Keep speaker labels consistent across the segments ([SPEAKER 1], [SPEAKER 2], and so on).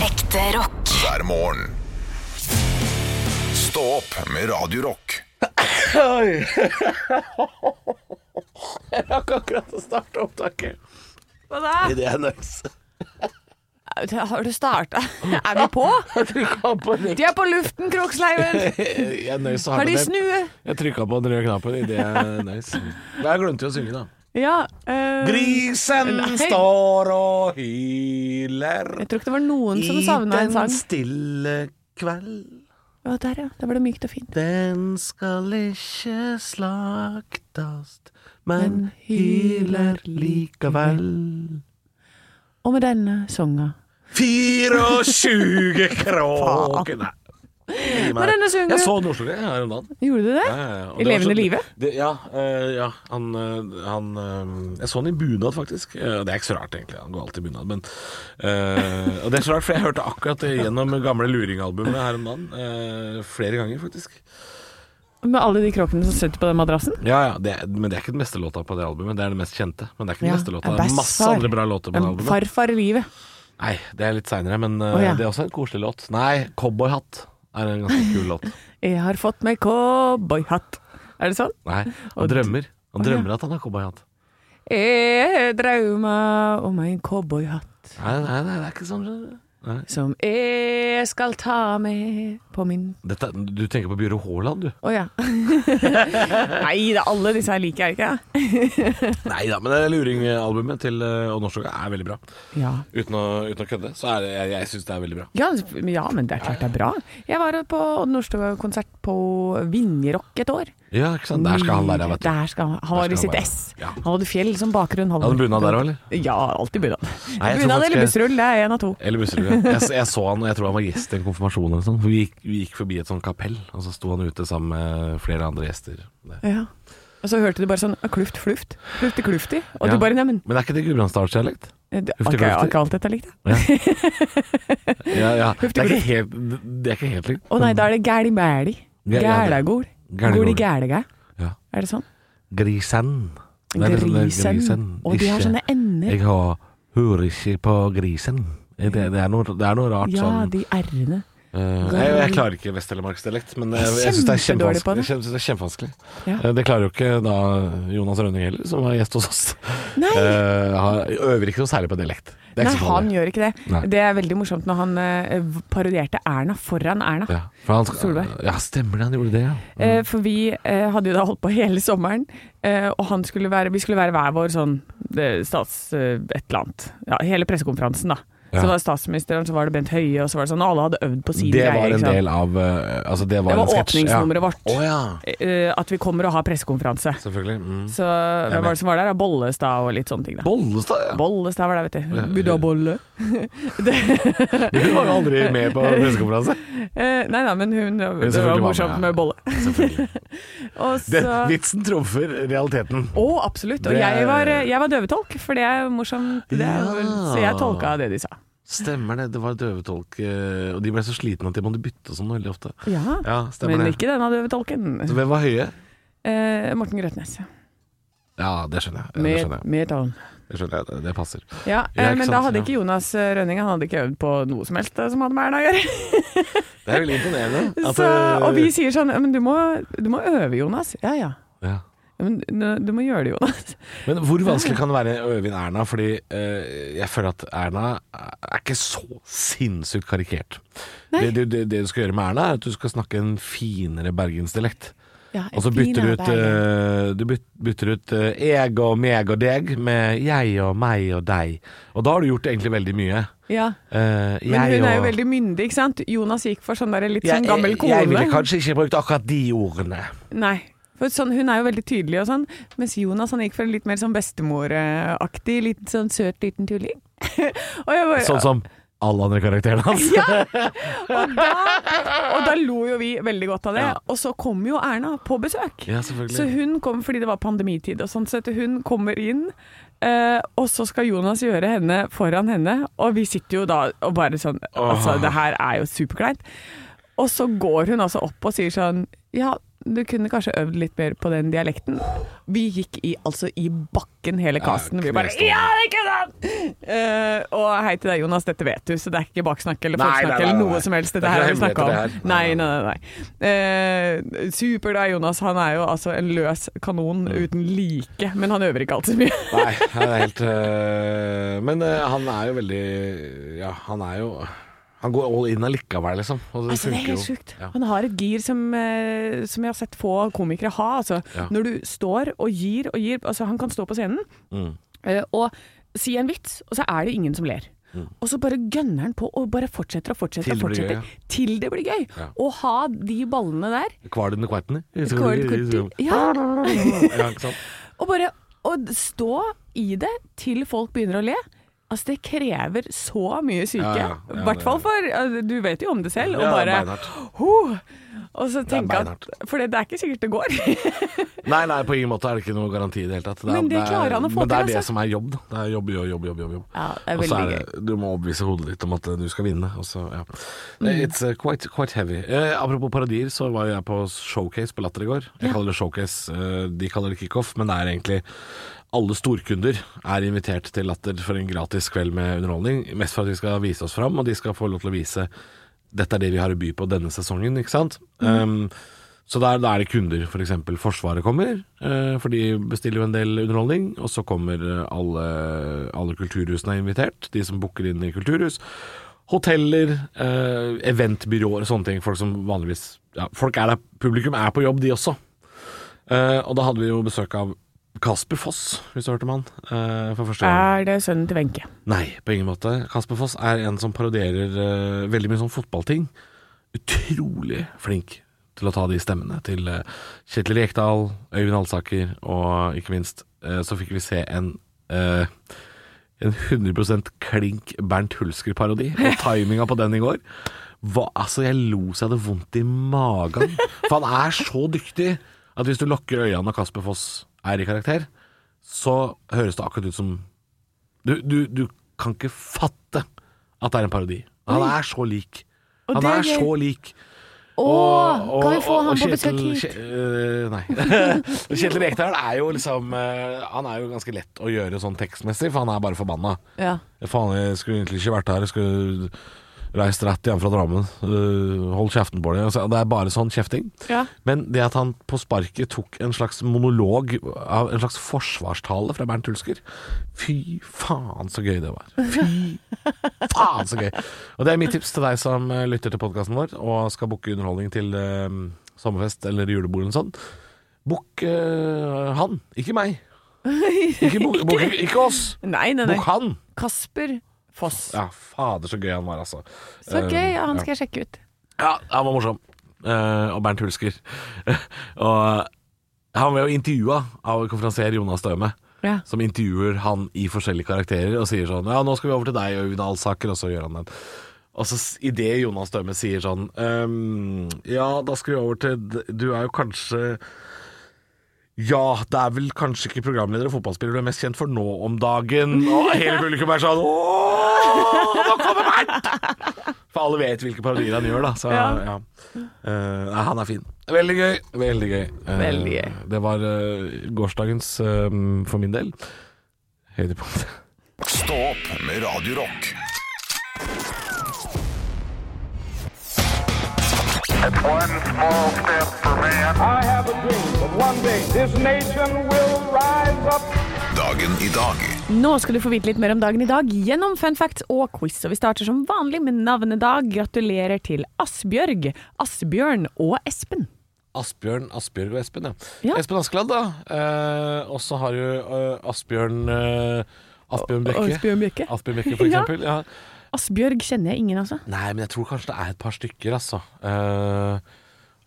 [SPEAKER 1] Ekte rock.
[SPEAKER 2] hver morgen. Stå opp med Radio Rock.
[SPEAKER 3] Oi! Jeg rakk akkurat å starte opptaket.
[SPEAKER 4] Hva da?
[SPEAKER 3] Ideen er nice.
[SPEAKER 4] Har du starta? Er vi på?
[SPEAKER 3] Jeg trykket på den.
[SPEAKER 4] De er på luften, Kroksleiven!
[SPEAKER 3] Jeg er nice,
[SPEAKER 4] Har de
[SPEAKER 3] det.
[SPEAKER 4] snue?
[SPEAKER 3] Jeg trykka på den røde knappen. Ideen er nice. Men jeg glemte jo å synge, da.
[SPEAKER 4] Ja. eh,
[SPEAKER 3] Grisen
[SPEAKER 4] Nei.
[SPEAKER 3] står og hyler
[SPEAKER 4] jeg tror ikke det var noen som savna en sang.
[SPEAKER 3] stille kveld.
[SPEAKER 4] Ja, der, ja. Der var det mykt og fint.
[SPEAKER 3] Den skal ikke slaktast,
[SPEAKER 4] men hyler
[SPEAKER 3] likevel.
[SPEAKER 4] Og med denne songa.
[SPEAKER 3] 24 kråker Nei. Gi meg
[SPEAKER 4] Men denne
[SPEAKER 3] det.
[SPEAKER 4] synger-
[SPEAKER 3] Jeg så den Oslo Gang her om dagen.
[SPEAKER 4] Gjorde du det?
[SPEAKER 3] Ja, ja, ja. Og
[SPEAKER 4] I
[SPEAKER 3] det var
[SPEAKER 4] levende
[SPEAKER 3] så-
[SPEAKER 4] live?
[SPEAKER 3] Det, ja. eh, ja han, eh, han eh, Jeg så han i bunad, faktisk. Eh, Det er ikke så rart, egentlig. Han går alltid i bunad. Men, eh, og det er så rart, for jeg hørte akkurat det gjennom gamle Luring-albumet her om dagen. eh, flere ganger, faktisk.
[SPEAKER 4] Med alle de kråkene som sitter på den madrassen?
[SPEAKER 3] Ja, ja, det, er- Men det er ikke den beste låta på det albumet. Det er den mest kjente. Men det er ikke den
[SPEAKER 4] Ja,
[SPEAKER 3] beste låta.
[SPEAKER 4] en
[SPEAKER 3] Det er
[SPEAKER 4] best
[SPEAKER 3] masse
[SPEAKER 4] far.
[SPEAKER 3] andre bra låter på det
[SPEAKER 4] En
[SPEAKER 3] albumet.
[SPEAKER 4] Farfar i livet.
[SPEAKER 3] Nei, det er litt seinere, men eh,
[SPEAKER 4] Å, ja.
[SPEAKER 3] det er også en koselig låt. Nei, 'Cowboyhatt' er en ganske kul låt.
[SPEAKER 4] Jeg har fått meg cowboyhatt. Er det sånn?
[SPEAKER 3] Nei,
[SPEAKER 4] Og
[SPEAKER 3] han drømmer. Han
[SPEAKER 4] Å, ja.
[SPEAKER 3] drømmer at han har cowboyhatt.
[SPEAKER 4] Jeg drømmer om en cowboyhatt
[SPEAKER 3] Nei, nei, nei, det er ikke sånn. skjønner du. Nei.
[SPEAKER 4] som jeg skal ta med på min
[SPEAKER 3] Dette, du tenker på Bjøre Haaland, du?
[SPEAKER 4] Å ja. Nei, det er alle disse her liker jeg ikke.
[SPEAKER 3] Nei da, men det Luring-albumet til eh, Odd Norstoga er veldig bra.
[SPEAKER 4] Ja.
[SPEAKER 3] Uten å, uten å kødde, så er det, jeg, jeg syns det er veldig bra.
[SPEAKER 4] Ja, ja, men det er klart det er bra. Jeg var på Odd Nordstoga-konsert på Vinjerock et år.
[SPEAKER 3] Ja, ikke sant. Sånn, Der skal han være, vet du.
[SPEAKER 4] Der skal han, han var
[SPEAKER 3] skal
[SPEAKER 4] i
[SPEAKER 3] han
[SPEAKER 4] sitt
[SPEAKER 3] være.
[SPEAKER 4] ess.
[SPEAKER 3] Ja.
[SPEAKER 4] Han hadde fjell som bakgrunn.
[SPEAKER 3] Hadde han bunad der òg, eller?
[SPEAKER 4] Ja, alltid bunad.
[SPEAKER 3] Nei, jeg tror
[SPEAKER 4] Bunad
[SPEAKER 3] faktisk
[SPEAKER 4] eller
[SPEAKER 3] jeg-
[SPEAKER 4] bussrull, det er én av to.
[SPEAKER 3] Eller Busserud. ja. Jeg, s- jeg så han, og jeg tror han var gjest i en konfirmasjon eller noe sånt. For vi gikk, vi gikk forbi et sånt kapell, og så sto han ute sammen med flere andre gjester. Det.
[SPEAKER 4] Ja. Og så hørte du bare sånn kluft, fluft, klufti, klufti. Og
[SPEAKER 3] Ja.
[SPEAKER 4] du bare neimen
[SPEAKER 3] Men er ikke det Gudbrandsdalsdialekt?
[SPEAKER 4] det-
[SPEAKER 3] Klufti,
[SPEAKER 4] ok, Jeg har
[SPEAKER 3] klufti.
[SPEAKER 4] ikke alt dette likt, jeg.
[SPEAKER 3] Ja, ja. Det
[SPEAKER 4] Huftig
[SPEAKER 3] er ikke helt, det er ikke helt likt.
[SPEAKER 4] Å nei, da er det gæli mæli.
[SPEAKER 3] Ja, ja, det-
[SPEAKER 4] Gælagol.
[SPEAKER 3] Gæligol.
[SPEAKER 4] Goli gælegæ.
[SPEAKER 3] Ja.
[SPEAKER 4] Er det sånn?
[SPEAKER 3] Grisen. Det er sånn der
[SPEAKER 4] Grisen. Og de har
[SPEAKER 3] Ikke-
[SPEAKER 4] sånne ender.
[SPEAKER 3] Jeg har, hører ikke på grisen. Det, det, er, noe, det er noe rart
[SPEAKER 4] Ja,
[SPEAKER 3] sånn.
[SPEAKER 4] de r-ene.
[SPEAKER 3] Eh, jeg, jeg klarer ikke Vest-Telemarksdialekt, men jeg, jeg syns det er
[SPEAKER 4] Kjempedårlig på
[SPEAKER 3] kjempevanskelig.
[SPEAKER 4] det.
[SPEAKER 3] Jeg synes det er kjempevanskelig.
[SPEAKER 4] Ja.
[SPEAKER 3] Eh, det klarer jo ikke da Jonas Rønning heller, som var gjest hos oss.
[SPEAKER 4] Nei.
[SPEAKER 3] Eh, han øver ikke noe særlig på dialekt. Det er
[SPEAKER 4] Nei,
[SPEAKER 3] ikke så
[SPEAKER 4] han
[SPEAKER 3] vanlig.
[SPEAKER 4] gjør ikke det.
[SPEAKER 3] Nei.
[SPEAKER 4] Det er veldig morsomt når han eh, parodierte Erna foran Erna.
[SPEAKER 3] ja, Mm. for han, skal-
[SPEAKER 4] Solveig.
[SPEAKER 3] Ja, stemmer det, han gjorde det, ja.
[SPEAKER 4] Eh, for vi eh, hadde jo da holdt på hele sommeren, eh, og han skulle være, vi skulle være hver vår sånn eh, stats... Eh, et eller annet. Ja, hele pressekonferansen, da.
[SPEAKER 3] Ja.
[SPEAKER 4] Så var det statsministeren, så var det Bent Høie, og så var det sånn Alle hadde øvd på sin
[SPEAKER 3] Det
[SPEAKER 4] greie.
[SPEAKER 3] var en
[SPEAKER 4] ikke sant?
[SPEAKER 3] del av eh, altså det, var
[SPEAKER 4] Det
[SPEAKER 3] en
[SPEAKER 4] var
[SPEAKER 3] sketsj,
[SPEAKER 4] åpningsnummeret vårt.
[SPEAKER 3] Ja. Å ja,
[SPEAKER 4] Eh, at vi kommer og har pressekonferanse.
[SPEAKER 3] selvfølgelig. Mm.
[SPEAKER 4] Så hvem var det som var der? Ja, Bollestad og litt sånne ting. da
[SPEAKER 3] Bollestad, ja.
[SPEAKER 4] Bollestad var der, vet du. Budabolle.
[SPEAKER 3] Hun var jo aldri med på pressekonferanse.
[SPEAKER 4] Eh, nei da, men hun Det
[SPEAKER 3] selvfølgelig var
[SPEAKER 4] var
[SPEAKER 3] med,
[SPEAKER 4] morsomt
[SPEAKER 3] ja.
[SPEAKER 4] med bolle.
[SPEAKER 3] Selvfølgelig.
[SPEAKER 4] Og
[SPEAKER 3] Den,
[SPEAKER 4] så
[SPEAKER 3] vitsen trumfer realiteten.
[SPEAKER 4] Å, absolutt. Og
[SPEAKER 3] Det er-
[SPEAKER 4] jeg var, jeg var døvetolk, for det er jo morsomt. Det er, jo-
[SPEAKER 3] Ja.
[SPEAKER 4] Så jeg tolka det de sa.
[SPEAKER 3] Stemmer det. Det var døvetolk, eh, og de ble så slitne at de måtte bytte og sånn veldig ofte.
[SPEAKER 4] Ja,
[SPEAKER 3] Ja, stemmer
[SPEAKER 4] Men
[SPEAKER 3] det.
[SPEAKER 4] ikke denne døvetolken.
[SPEAKER 3] Så hvem var høye?
[SPEAKER 4] Eh, Morten Grøtnes.
[SPEAKER 3] Ja, det skjønner jeg. Det
[SPEAKER 4] Med,
[SPEAKER 3] skjønner jeg.
[SPEAKER 4] med talen.
[SPEAKER 3] Det, skjønner jeg. det, det passer.
[SPEAKER 4] Ja,
[SPEAKER 3] Ja,
[SPEAKER 4] eh,
[SPEAKER 3] ikke
[SPEAKER 4] men
[SPEAKER 3] sant,
[SPEAKER 4] da hadde
[SPEAKER 3] ja.
[SPEAKER 4] ikke Jonas eh, Rønning Han hadde ikke øvd på noe som helst eh, som hadde med Erna å gjøre.
[SPEAKER 3] Det er veldig imponerende. at,
[SPEAKER 4] Så,
[SPEAKER 3] eh,
[SPEAKER 4] og vi sier sånn Men du må, du må øve, Jonas. Ja ja.
[SPEAKER 3] ja.
[SPEAKER 4] Men du, du må gjøre det, Jonas.
[SPEAKER 3] Men hvor vanskelig kan det være å øve inn Erna? Fordi eh, jeg føler at Erna er ikke så sinnssykt karikert. Det, det, det, det du skal gjøre med Erna, er at du skal snakke en finere bergensdialekt.
[SPEAKER 4] Ja,
[SPEAKER 3] Og så bytter du ut, eh, du byt- bytter ut eh, jeg og meg og deg med jeg og meg og deg. Og da har du gjort egentlig veldig mye.
[SPEAKER 4] Ja.
[SPEAKER 3] Eh,
[SPEAKER 4] Men
[SPEAKER 3] jeg
[SPEAKER 4] hun er jo
[SPEAKER 3] og-
[SPEAKER 4] veldig myndig, ikke sant? Jonas gikk for sånn der litt
[SPEAKER 3] Jeg-
[SPEAKER 4] sånn gammel
[SPEAKER 3] jeg- Jeg ville
[SPEAKER 4] kone.
[SPEAKER 3] kanskje ikke brukt akkurat de ordene.
[SPEAKER 4] Nei. For sånn, hun er jo veldig tydelig og sånn, mens Jonas han gikk for en litt mer sånn bestemoraktig, litt sånn søt liten tulling. og, jeg bare,
[SPEAKER 3] Sånn som alle andre karakterene hans.
[SPEAKER 4] og, da, og da lo jo vi veldig godt av det.
[SPEAKER 3] Ja.
[SPEAKER 4] Og så kom jo Erna på besøk.
[SPEAKER 3] Ja, selvfølgelig.
[SPEAKER 4] Så hun kom fordi det var pandemitid og sånn, så at hun kommer inn. eh, og så skal Jonas gjøre henne foran henne, og vi sitter jo da og bare sånn Altså, det her er jo superkleint. Og så går hun altså opp og sier sånn Ja, du kunne kanskje øvd litt mer på den dialekten. Vi gikk i, altså i bakken hele casten. Vi bare
[SPEAKER 3] knestående.
[SPEAKER 4] Ja, det er kødden! Eh, og hei til deg, Jonas, dette vet du, så det er ikke baksnakk eller
[SPEAKER 3] Nei, nei,
[SPEAKER 4] forsnakk
[SPEAKER 3] nei,
[SPEAKER 4] eller
[SPEAKER 3] nei,
[SPEAKER 4] noe
[SPEAKER 3] nei.
[SPEAKER 4] som
[SPEAKER 3] Det
[SPEAKER 4] helst.
[SPEAKER 3] er
[SPEAKER 4] Dette her har vi
[SPEAKER 3] ikke
[SPEAKER 4] snakka
[SPEAKER 3] hemmeligheter,
[SPEAKER 4] om.
[SPEAKER 3] det her.
[SPEAKER 4] Nei,
[SPEAKER 3] Nei,
[SPEAKER 4] nei, nei. nei. Eh, super deg, Jonas. Han er jo altså en løs kanon uten like, men han øver ikke alltid så mye.
[SPEAKER 3] Nei, det er helt øh, Men øh, han er jo veldig Ja, han er jo Han går all in allikevel, liksom. Og det
[SPEAKER 4] Altså, det er
[SPEAKER 3] funker
[SPEAKER 4] helt
[SPEAKER 3] jo.
[SPEAKER 4] sjukt.
[SPEAKER 3] Ja.
[SPEAKER 4] Han har et gir som, eh, som jeg har sett få komikere ha. Altså,
[SPEAKER 3] Ja.
[SPEAKER 4] Når du står og gir og gir altså, Han kan stå på scenen
[SPEAKER 3] Mm.
[SPEAKER 4] eh, og si en vits, og så er det ingen som ler. Og så bare gønner han på og bare fortsetter og fortsetter.
[SPEAKER 3] Mm. Til det
[SPEAKER 4] og
[SPEAKER 3] blir gøy,
[SPEAKER 4] fortsetter Til det blir gøy.
[SPEAKER 3] Ja.
[SPEAKER 4] Å ha de ballene der
[SPEAKER 3] Kvar den kvarten, i?
[SPEAKER 4] Kål, kutter. ja,
[SPEAKER 3] Ja, ikke sant?
[SPEAKER 4] Og bare å stå i det til folk begynner å le. Altså Det krever så mye
[SPEAKER 3] Ja,
[SPEAKER 4] syke. I
[SPEAKER 3] ja, ja,
[SPEAKER 4] hvert
[SPEAKER 3] det-
[SPEAKER 4] fall for altså, Du vet jo om det selv. Og
[SPEAKER 3] Ja, det
[SPEAKER 4] bare
[SPEAKER 3] er beinhardt.
[SPEAKER 4] «Huh!» Og så tenke at
[SPEAKER 3] beinhardt.
[SPEAKER 4] For det, det er ikke sikkert det går.
[SPEAKER 3] Nei, nei, på ingen måte er det ikke noe garanti i det hele tatt. er-
[SPEAKER 4] Men det
[SPEAKER 3] er-
[SPEAKER 4] klarer han å få
[SPEAKER 3] Men det
[SPEAKER 4] til,
[SPEAKER 3] er det
[SPEAKER 4] altså.
[SPEAKER 3] som er jobb, da. Det er jobb, jobb, jobb, jobb. jobb, jobb.
[SPEAKER 4] Ja, det er
[SPEAKER 3] Og så
[SPEAKER 4] veldig
[SPEAKER 3] det- Du må overbevise hodet ditt om at eh, du skal vinne. Og så, ja. Eh, It's eh, quite, quite heavy. Eh, apropos parodier, så var jo jeg på showcase på Latter i går. Jeg kaller det showcase, eh, de kaller det kickoff, men det er egentlig alle storkunder er invitert til Latter for en gratis kveld med underholdning. Mest for at de skal vise oss fram, og de skal få lov til å vise dette er det vi har å by på denne sesongen, ikke sant?
[SPEAKER 4] Mm.
[SPEAKER 3] Um, så der, da er det kunder, f.eks. For eksempel Forsvaret kommer, eh, for de bestiller jo en del underholdning. Og så kommer eh, alle, alle kulturhusene er invitert, de som booker inn i kulturhus. Hoteller, eh, eventbyråer, sånne ting. Folk som vanligvis ja, Folk er der, publikum er på jobb, de også. Eh, og da hadde vi jo besøk av Kasper Foss, hvis du hørte om han, eh, for første gang.
[SPEAKER 4] Er det sønnen til Wenche?
[SPEAKER 3] Nei, på ingen måte. Kasper Foss er en som parodierer eh, veldig mye sånn fotballting. Utrolig flink til å ta de stemmene til eh, Kjetil Rekdal, Øyvind Alsaker, og ikke minst eh, så fikk vi se en eh, en 100 klink Bernt Hulsker-parodi. Og timinga på den i går hva, Altså, jeg lo så jeg hadde vondt i magen. For han er så dyktig at hvis du lukker øynene når Kasper Foss er i karakter, så høres det akkurat ut som Du, du, du kan ikke fatte at det er en parodi. Han er så lik.
[SPEAKER 4] Og
[SPEAKER 3] Han
[SPEAKER 4] det er
[SPEAKER 3] er
[SPEAKER 4] gøy.
[SPEAKER 3] så lik.
[SPEAKER 1] Å,
[SPEAKER 3] Og-
[SPEAKER 1] kan vi
[SPEAKER 3] og-
[SPEAKER 1] få
[SPEAKER 3] og-
[SPEAKER 1] han
[SPEAKER 3] og
[SPEAKER 1] på
[SPEAKER 3] Kjetil-
[SPEAKER 1] besøk hit?
[SPEAKER 3] Kje- øh, nei. Kjetil Rekdal er jo liksom øh, Han er jo ganske lett å gjøre sånn tekstmessig, for han er bare forbanna.
[SPEAKER 1] Ja.
[SPEAKER 3] Faen, jeg skulle egentlig ikke vært her. Jeg skulle reist rett hjem fra Drammen. Øh, hold kjeften på deg. Altså, det er bare sånn kjefting.
[SPEAKER 4] Ja.
[SPEAKER 3] Men det at han på sparket tok en slags monolog, av en slags forsvarstale fra Bernt Hulsker Fy faen så gøy det var. Fy faen så gøy. Og det er mitt tips til deg som eh, lytter til podkasten vår og skal booke underholdning til eh, sommerfest eller julebord eller sånn. Book eh, han, ikke meg. Ikke, book, book, ikke oss.
[SPEAKER 4] Nei, nei, nei.
[SPEAKER 3] Book han.
[SPEAKER 4] Kasper Foss.
[SPEAKER 3] Ja, fader så gøy han var, altså.
[SPEAKER 4] Så
[SPEAKER 3] Eh,
[SPEAKER 4] gøy, ja, han skal jeg sjekke ut.
[SPEAKER 3] ja, han var morsom. Eh, og Bernt Hulsker. og han var jo intervjua av konferansier Jonas Støme.
[SPEAKER 4] Ja.
[SPEAKER 3] Som intervjuer han i forskjellige karakterer og sier sånn Ja, nå skal vi over til deg, Øyvind Alsaker, og så gjør han den. Og så s- i det Jonas Døme sier sånn «Ehm, Ja, da skal vi over til d- Du er jo kanskje ja, det er vel kanskje ikke programleder og fotballspiller du er mest kjent for nå om dagen. Og hele publikum er sånn Ååå, nå kommer Bernt! For alle vet hvilke parodier han gjør, da. Så, ja.
[SPEAKER 4] Ja.
[SPEAKER 3] Eh, nei, han er fin. Veldig gøy. Veldig gøy. Eh,
[SPEAKER 4] Veldig gøy.
[SPEAKER 3] Det var eh, gårsdagens, eh, for min del, høydepunkt.
[SPEAKER 2] Stå opp med Radio Rock.
[SPEAKER 5] One small step for man.
[SPEAKER 6] I have a dream that one day this nation will rise up.
[SPEAKER 2] Dagen i dag
[SPEAKER 4] Nå skal du få vite litt mer om dagen i dag gjennom fun facts og quiz. Og vi starter som vanlig med navnedag. Gratulerer til Asbjørg, Asbjørn og Espen.
[SPEAKER 3] Asbjørn, Asbjørg og Espen, ja.
[SPEAKER 4] Ja.
[SPEAKER 3] Espen Askeladd, da. Eh, og så har du eh, Asbjørn eh, Asbjørn Brekke.
[SPEAKER 4] Asbjørn Brekke.
[SPEAKER 3] Asbjørn Brekke, for
[SPEAKER 4] Ja.
[SPEAKER 3] eksempel. Ja.
[SPEAKER 4] Asbjørg kjenner jeg ingen, altså.
[SPEAKER 3] Nei, men jeg tror kanskje det er et par stykker, altså. Eh,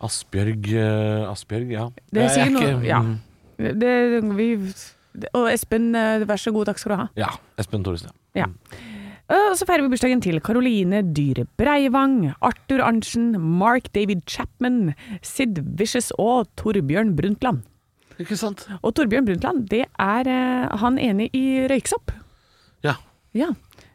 [SPEAKER 3] Asbjørg eh, Asbjørg, ja.
[SPEAKER 4] Det
[SPEAKER 3] Jeg er
[SPEAKER 4] sier noe.
[SPEAKER 3] ikke- Mm.
[SPEAKER 4] Ja. Det, vi, og Espen, eh, vær så god, takk skal du ha.
[SPEAKER 3] ja. Espen Thoresen, ja.
[SPEAKER 4] Ja. Og så feirer vi bursdagen til Caroline Dyhre Breivang, Arthur Arntzen, Mark David Chapman, Sid Vicious og Torbjørn Brundtland.
[SPEAKER 3] Ikke sant?
[SPEAKER 4] Og Torbjørn Brundtland, det er eh, han enig i røyksopp.
[SPEAKER 3] Ja.
[SPEAKER 4] Ja.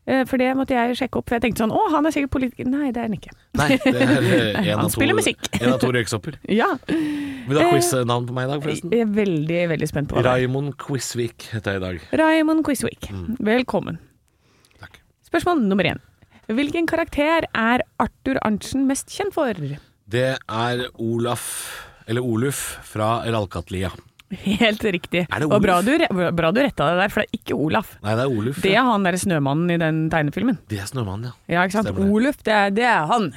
[SPEAKER 4] Eh, For det måtte jeg sjekke opp, for jeg tenkte sånn Å, han er sikkert politiker. Nei, det er han ikke.
[SPEAKER 3] Nei, det er eh, en
[SPEAKER 4] Han
[SPEAKER 3] av to,
[SPEAKER 4] spiller musikk.
[SPEAKER 3] En av to røyksopper.
[SPEAKER 4] Ja.
[SPEAKER 3] Vil du ha
[SPEAKER 4] Eh,
[SPEAKER 3] quiznavn på meg i dag, forresten?
[SPEAKER 4] Jeg er veldig, veldig spent på hva det er.
[SPEAKER 3] Raimond Quisvik heter jeg i dag.
[SPEAKER 4] Raymond Quizweek, velkommen.
[SPEAKER 3] Mm. Takk.
[SPEAKER 4] Spørsmål nummer én. Hvilken karakter er Arthur Arntzen mest kjent for?
[SPEAKER 3] Det er Olaf, eller Oluf, fra Ralkatlia.
[SPEAKER 4] Helt riktig.
[SPEAKER 3] Er det
[SPEAKER 4] Og bra
[SPEAKER 3] Oluf?
[SPEAKER 4] du, re- bra du retta deg der, for det er ikke Olaf.
[SPEAKER 3] Nei, det er Oluf.
[SPEAKER 4] Det
[SPEAKER 3] ja.
[SPEAKER 4] er han derre snømannen i den tegnefilmen.
[SPEAKER 3] det er Snømannen, ja.
[SPEAKER 4] Ja, ikke sant?
[SPEAKER 3] Stemmer det.
[SPEAKER 4] Oluf, det er, det er han.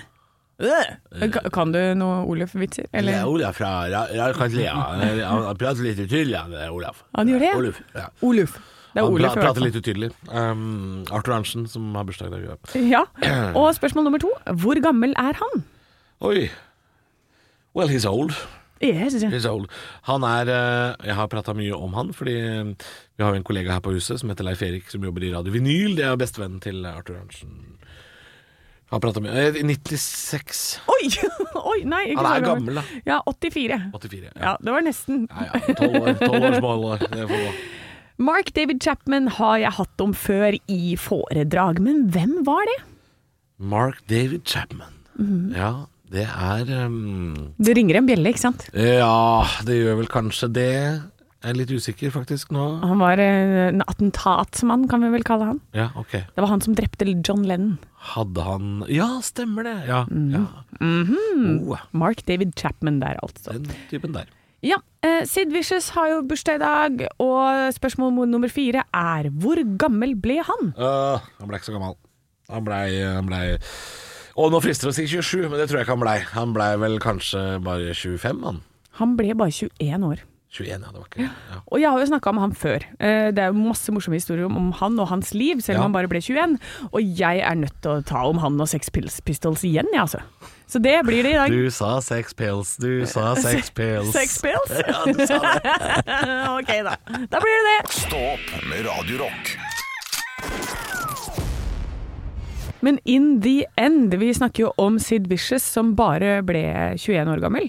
[SPEAKER 4] Øh. Ka- Kan du noe Oluf-vitser?
[SPEAKER 3] Det
[SPEAKER 4] Eller
[SPEAKER 3] er Olaf fra Ralkatlia. Han han prater litt utydelig, han der Olaf.
[SPEAKER 4] Han gjør det?
[SPEAKER 3] Oluf, ja.
[SPEAKER 4] Oluf. Det er
[SPEAKER 3] Han pra
[SPEAKER 4] Oluf. i hvert
[SPEAKER 3] prater
[SPEAKER 4] fall.
[SPEAKER 3] litt utydelig. Um, Arthur Arntzen, som har bursdag i dag. ja.
[SPEAKER 4] Ja. Og spørsmål nummer to. Hvor gammel er han?
[SPEAKER 3] Oi. Well, he's old.
[SPEAKER 4] Yes.
[SPEAKER 3] He's old. Han er eh, Jeg har prata mye om han, fordi eh, vi har jo en kollega her på huset som heter Leif Erik, som jobber i Radio Vinyl. Det er bestevennen til Arthur Arntzen. Har pratet mye eh, 96
[SPEAKER 4] Oi! Oi, nei, ikke
[SPEAKER 3] Han
[SPEAKER 4] så
[SPEAKER 3] er gammel, da.
[SPEAKER 4] Ja, 84.
[SPEAKER 3] 84.
[SPEAKER 4] Ja, det var nesten.
[SPEAKER 3] Ja, ja. Tolv år, tolv år, små år. Det får gå.
[SPEAKER 4] Mark David Chapman har jeg hatt om før i foredrag, men hvem var det?
[SPEAKER 3] Mark David Chapman. Ja, det er um,
[SPEAKER 4] Det ringer en bjelle, ikke sant?
[SPEAKER 3] Ja, det gjør vel kanskje det. Jeg er litt usikker faktisk nå.
[SPEAKER 4] Han var eh, en attentatsmann, kan vi vel kalle han.
[SPEAKER 3] Ja, ok.
[SPEAKER 4] Det var han som drepte John Lennon.
[SPEAKER 3] Hadde han Ja, stemmer det! Ja. ja. Oh,
[SPEAKER 4] Mark David Chapman der, altså.
[SPEAKER 3] den typen der.
[SPEAKER 4] Ja, eh, Sid Vicious har jo bursdag i dag, og spørsmål nummer fire er hvor gammel ble han?
[SPEAKER 3] Øh, han ble ikke så gammel. Han blei ble, Å, nå frister det å si 27, men det tror jeg ikke han blei. Han blei vel kanskje bare 25, han.
[SPEAKER 4] Han ble bare 21 år.
[SPEAKER 3] 21, ja. Det var ikke ja.
[SPEAKER 4] Og jeg har jo snakka med ham før. Eh, Det er jo masse morsomme historier om- om han og hans liv, selv om
[SPEAKER 3] Ja.
[SPEAKER 4] han bare ble 21. Og jeg er nødt til å ta om han og Sex Pils- Pistols igjen, jeg, altså. Så det blir det i dag.
[SPEAKER 3] Du sa sex pills, du sa sex pills.
[SPEAKER 4] Sex Pils?
[SPEAKER 3] Ja, du sa det.
[SPEAKER 4] ok, da. Da blir det det.
[SPEAKER 2] Stå opp med Radio Rock.
[SPEAKER 4] Men in the end Vi snakker jo om Sid Vicious, som bare ble 21 år gammel.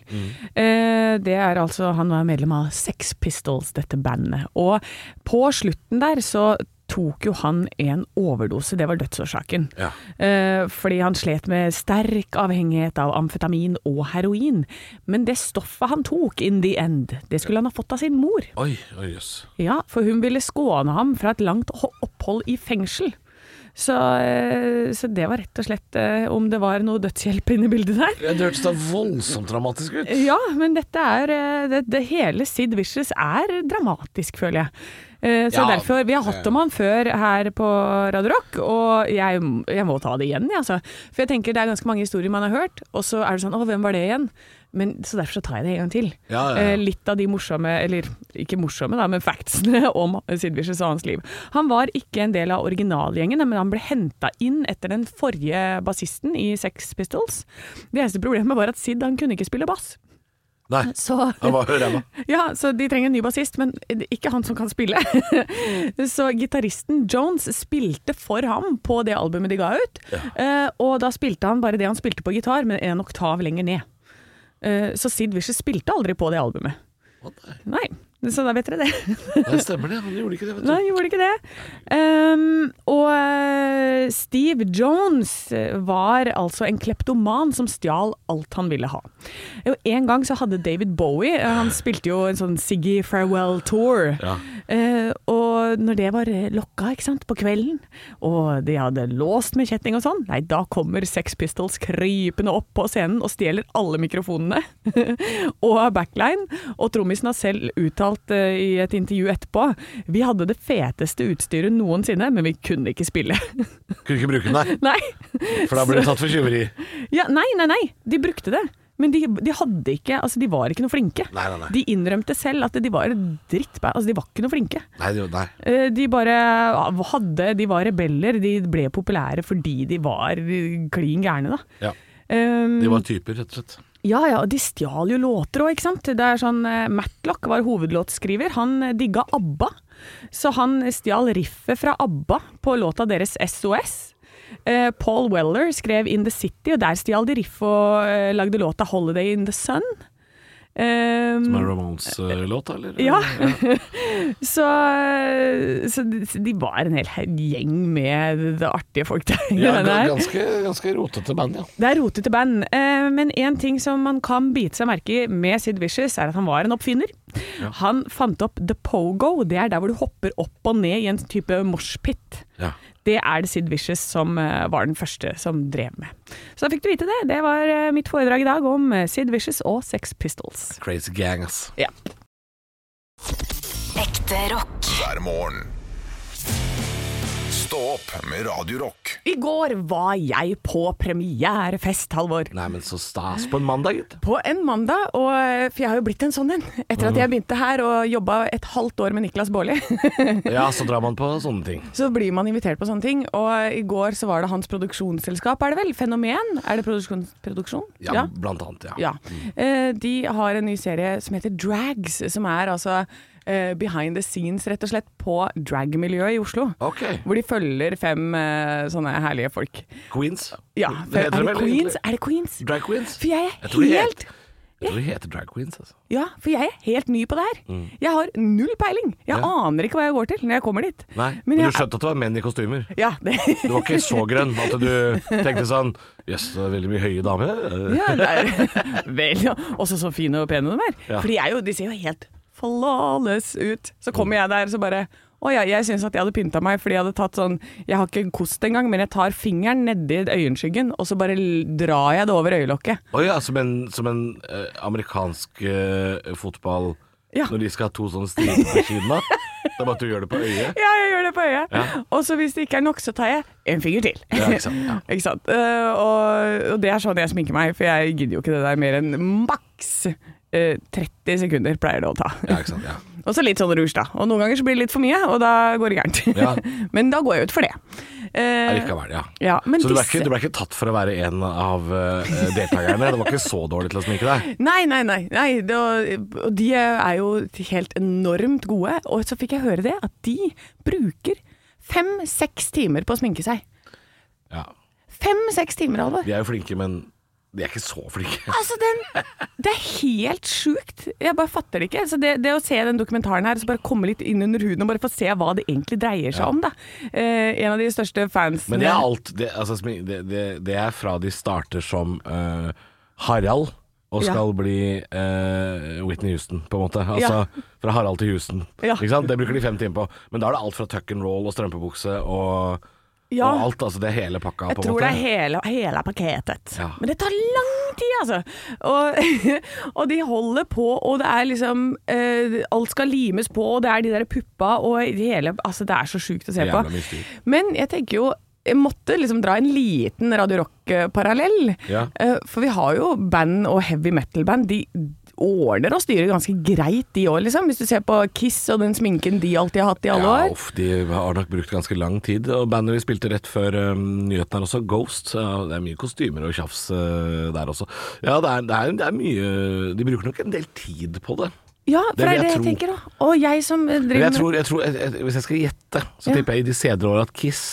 [SPEAKER 4] Eh, Det er altså Han var medlem av Sex Pistols, dette bandet. Og på slutten der så tok jo han en overdose. Det var dødsårsaken.
[SPEAKER 3] Ja.
[SPEAKER 4] Eh, fordi han slet med sterk avhengighet av amfetamin og heroin. Men det stoffet han tok in the end, det skulle han ha fått av sin mor.
[SPEAKER 3] Oi, oi, jøss.
[SPEAKER 4] Ja, for hun ville skåne ham fra et langt ho- opphold i fengsel. Så, eh, så det var rett og slett eh, om det var noe dødshjelp inne i bildet der.
[SPEAKER 3] Ja, Det hørtes da voldsomt dramatisk ut.
[SPEAKER 4] Ja, men dette er eh, det, det hele Sid Vicious er dramatisk, føler jeg. Eh, Så
[SPEAKER 3] Ja,
[SPEAKER 4] derfor Vi har hatt om han før her på Radio Rock, og jeg, jeg må ta det igjen, jeg, altså. For jeg tenker det er ganske mange historier man har hørt, og så er det sånn Å, hvem var det igjen? Men, så derfor så tar jeg det en gang til.
[SPEAKER 3] Ja, ja, ja.
[SPEAKER 4] Eh, Litt av de morsomme, eller ikke morsomme, da, men factsene om Sid Vicious og hans liv. Han var ikke en del av originalgjengen, men han ble henta inn etter den forrige bassisten i Sex Pistols. Det eneste problemet var at Sid han kunne ikke spille bass.
[SPEAKER 3] Nei,
[SPEAKER 4] Så,
[SPEAKER 3] det var jo ræva.
[SPEAKER 4] ja, så de trenger en ny bassist, men ikke han som kan spille. så gitaristen Jones spilte for ham på det albumet de ga ut. Eh, og da spilte han bare det han spilte på gitar, men en oktav lenger ned. Eh, så Sid Vicious spilte aldri på det albumet.
[SPEAKER 3] Å, nei.
[SPEAKER 4] Nei, så da vet dere det.
[SPEAKER 3] Nei, stemmer det. Han gjorde ikke det, vet du.
[SPEAKER 4] Nei, gjorde ikke det. Ehm, og eh, Steve Jones var altså en kleptoman som stjal alt han ville ha. Og en gang så hadde David Bowie, eh, han spilte jo en sånn Siggy Farewell Tour.
[SPEAKER 3] Ja.
[SPEAKER 4] Eh, og når det var eh, lokka ikke sant, på kvelden, og de hadde låst med kjetting og sånn, nei, da kommer Sex Pistols krypende opp på scenen og stjeler alle mikrofonene og backline. Og trommisen har selv uttalt eh, i et intervju etterpå Vi hadde det feteste utstyret noensinne, men vi kunne ikke spille.
[SPEAKER 3] Kunne ikke bruke den der,
[SPEAKER 4] nei.
[SPEAKER 3] for da ble du tatt for tyveri.
[SPEAKER 4] Ja, nei, nei, nei. De brukte det. Men de, de hadde ikke Altså, de var ikke noe flinke.
[SPEAKER 3] Nei, nei, nei.
[SPEAKER 4] De innrømte selv at de var et drittband. Altså, de var ikke noe flinke.
[SPEAKER 3] Nei, det, nei.
[SPEAKER 4] Eh, De bare hadde De var rebeller. De ble populære fordi de var klin gærne, da.
[SPEAKER 3] Ja.
[SPEAKER 4] Um,
[SPEAKER 3] De var typer, rett og slett.
[SPEAKER 4] Ja ja, og de stjal jo låter òg, ikke sant. Det er sånn eh, Matlock var hovedlåtskriver. Han eh, digga ABBA. Så han stjal riffet fra ABBA på låta deres SOS. Eh, Paul Weller skrev In The City, og der stjal de riff og eh, lagde låta Holiday In The Sun. Ehm,
[SPEAKER 3] Som er Ramones-låt, eller?
[SPEAKER 4] ja. så, så de, så de var en hel gjeng med det artige folk der.
[SPEAKER 3] Ja,
[SPEAKER 4] Det
[SPEAKER 3] ga-
[SPEAKER 4] der.
[SPEAKER 3] ganske, ganske rotete band, ja.
[SPEAKER 4] Det er rotete band, eh, men en ting som man kan bite seg merke i med Sid Vicious, er at han var en oppfinner. Han fant opp the pogo, det er der hvor du hopper opp og ned i en type moshpit.
[SPEAKER 3] ja.
[SPEAKER 4] Det er det Sid Vicious som eh, var den første som drev med. Så da fikk du vite det. Det var eh, mitt foredrag i dag om eh, Sid Vicious og Sex Pistols.
[SPEAKER 3] Crazy gang, ass.
[SPEAKER 4] Ja.
[SPEAKER 1] Ekte rock.
[SPEAKER 2] hver morgen. Stå opp med Radio Rock.
[SPEAKER 4] I går var jeg på premierefest, Halvor.
[SPEAKER 3] Nei, men så stas på en mandag, gitt.
[SPEAKER 4] På en mandag, og, for jeg har jo blitt en sånn en etter at jeg begynte her og jobba et halvt år med Niklas Baarli.
[SPEAKER 3] Ja, så drar man på sånne ting.
[SPEAKER 4] Så blir man invitert på sånne ting, og i går så var det hans produksjonsselskap, er det vel? Fenomen? Er det produksjon? produksjon?
[SPEAKER 3] Ja, Mm. blant annet, ja.
[SPEAKER 4] Ja. Eh, De har en ny serie som heter Drags, som er altså eh, behind the scenes, rett og slett, på dragmiljøet i Oslo.
[SPEAKER 3] Ok.
[SPEAKER 4] Hvor de følger fem eh, sånne herlige folk.
[SPEAKER 3] Queens.
[SPEAKER 4] Ja,
[SPEAKER 3] Det
[SPEAKER 4] er,
[SPEAKER 3] heter
[SPEAKER 4] det
[SPEAKER 3] vel
[SPEAKER 4] Queens?
[SPEAKER 3] egentlig.
[SPEAKER 4] er det Queens?
[SPEAKER 3] Drag Queens.
[SPEAKER 4] For jeg
[SPEAKER 3] Jeg
[SPEAKER 4] er
[SPEAKER 3] tror de het-
[SPEAKER 4] helt
[SPEAKER 3] Jeg tror de heter Drag Queens, altså.
[SPEAKER 4] ja, for jeg er helt ny på det her. Jeg har null peiling. Jeg
[SPEAKER 3] Mm. Ja.
[SPEAKER 4] aner ikke hva jeg går til når jeg kommer dit.
[SPEAKER 3] Nei,
[SPEAKER 4] Men
[SPEAKER 3] men
[SPEAKER 4] jeg-
[SPEAKER 3] du skjønte at det var menn i kostymer.
[SPEAKER 4] Ja, det,
[SPEAKER 3] Du var ikke så grønn at du tenkte sånn Jøss, det er veldig mye høye damer.
[SPEAKER 4] Ja, det er vel ja. Også så fine og pene de er.
[SPEAKER 3] Ja.
[SPEAKER 4] For de, er jo, de ser jo helt flawless ut. Så kommer jeg der, så bare Å ja, jeg syns at jeg hadde pynta meg fordi jeg hadde tatt sånn Jeg har ikke kost engang, men jeg tar fingeren nedi øyenskyggen, og så bare l- drar jeg det over øyelokket.
[SPEAKER 3] Å ja, som en, som en eh, amerikansk eh, fotball
[SPEAKER 4] Ja.
[SPEAKER 3] Når de skal ha to sånne striper på siden av. Det er bare at du gjør det på øyet.
[SPEAKER 4] Ja, jeg gjør det på øyet.
[SPEAKER 3] Ja.
[SPEAKER 4] Og så hvis det ikke er nok, så tar jeg en finger til.
[SPEAKER 3] Ja, ikke sant, ja.
[SPEAKER 4] Ikke sant? Eh, og, og det er sånn jeg sminker meg, for jeg gidder jo ikke det der mer enn maks eh, 30 sekunder pleier det å ta.
[SPEAKER 3] Ja, ikke sant, ja.
[SPEAKER 4] Og så litt sånn rouge, da. Og noen ganger så blir det litt for mye, og da går det gærent.
[SPEAKER 3] Ja.
[SPEAKER 4] men da går jeg ut for det. Eh,
[SPEAKER 3] Allikevel, ja.
[SPEAKER 4] ja, men
[SPEAKER 3] så du ble,
[SPEAKER 4] disse-
[SPEAKER 3] ikke, du ble ikke tatt for å være en av eh, deltakerne? Det var ikke så dårlig til å sminke deg?
[SPEAKER 4] Nei, nei, nei. nei det, og- og de er jo helt enormt gode. Og så fikk jeg høre det, at de bruker fem-seks timer på å sminke seg.
[SPEAKER 3] Ja.
[SPEAKER 4] Fem-seks timer, Halvor.
[SPEAKER 3] De er jo flinke, men de er ikke så flinke.
[SPEAKER 4] Altså, den, det er helt sjukt. Jeg bare fatter det ikke. Så det, det å se den dokumentaren her, så bare komme litt inn under huden og bare få se hva det egentlig dreier seg om, da. Eh, en av de største fansene
[SPEAKER 3] Men det er alt Det, altså, smi- det, det, det er fra de starter som eh, Harald og
[SPEAKER 4] Ja.
[SPEAKER 3] skal bli eh, Whitney Houston, på en måte. Altså fra Harald til Houston.
[SPEAKER 4] Ja.
[SPEAKER 3] Ikke sant? Det bruker de fem timer på. Men da er det alt fra tuck and roll og strømpebukse og,
[SPEAKER 4] Ja.
[SPEAKER 3] og alt. Altså det er hele pakka,
[SPEAKER 4] Jeg
[SPEAKER 3] på en
[SPEAKER 4] tror
[SPEAKER 3] måte.
[SPEAKER 4] det er hele, hele pakketet.
[SPEAKER 3] Ja.
[SPEAKER 4] Men det tar lang tid, altså. Og, og de holder på, og det er liksom eh, Alt skal limes på, og det er de der puppa og det hele Altså, det er så sjukt å se
[SPEAKER 3] Jævla
[SPEAKER 4] på.
[SPEAKER 3] mye styr.
[SPEAKER 4] Men jeg tenker jo jeg måtte liksom dra en liten Radio Rock-parallell.
[SPEAKER 3] Ja.
[SPEAKER 4] Eh, For vi har jo band og heavy metal-band. De ordner og styrer ganske greit, de òg, liksom. Hvis du ser på Kiss og den sminken de alltid har hatt i alle
[SPEAKER 3] Ja,
[SPEAKER 4] år.
[SPEAKER 3] uff, de har nok brukt ganske lang tid. Og bandet vi spilte rett før um, nyheten her også, Ghost. ja, det er mye kostymer og tjafs eh, der også. Ja, det er, det, er, det er mye De bruker nok en del tid på det.
[SPEAKER 4] Ja, for
[SPEAKER 3] Det vil
[SPEAKER 4] det er
[SPEAKER 3] jeg
[SPEAKER 4] det jeg
[SPEAKER 3] tro.
[SPEAKER 4] tenker òg. Og jeg som eh,
[SPEAKER 3] Men
[SPEAKER 4] driver
[SPEAKER 3] jeg tror, jeg tror jeg, jeg, Hvis jeg skal gjette, så
[SPEAKER 4] Ja.
[SPEAKER 3] tipper jeg i de senere åra at Kiss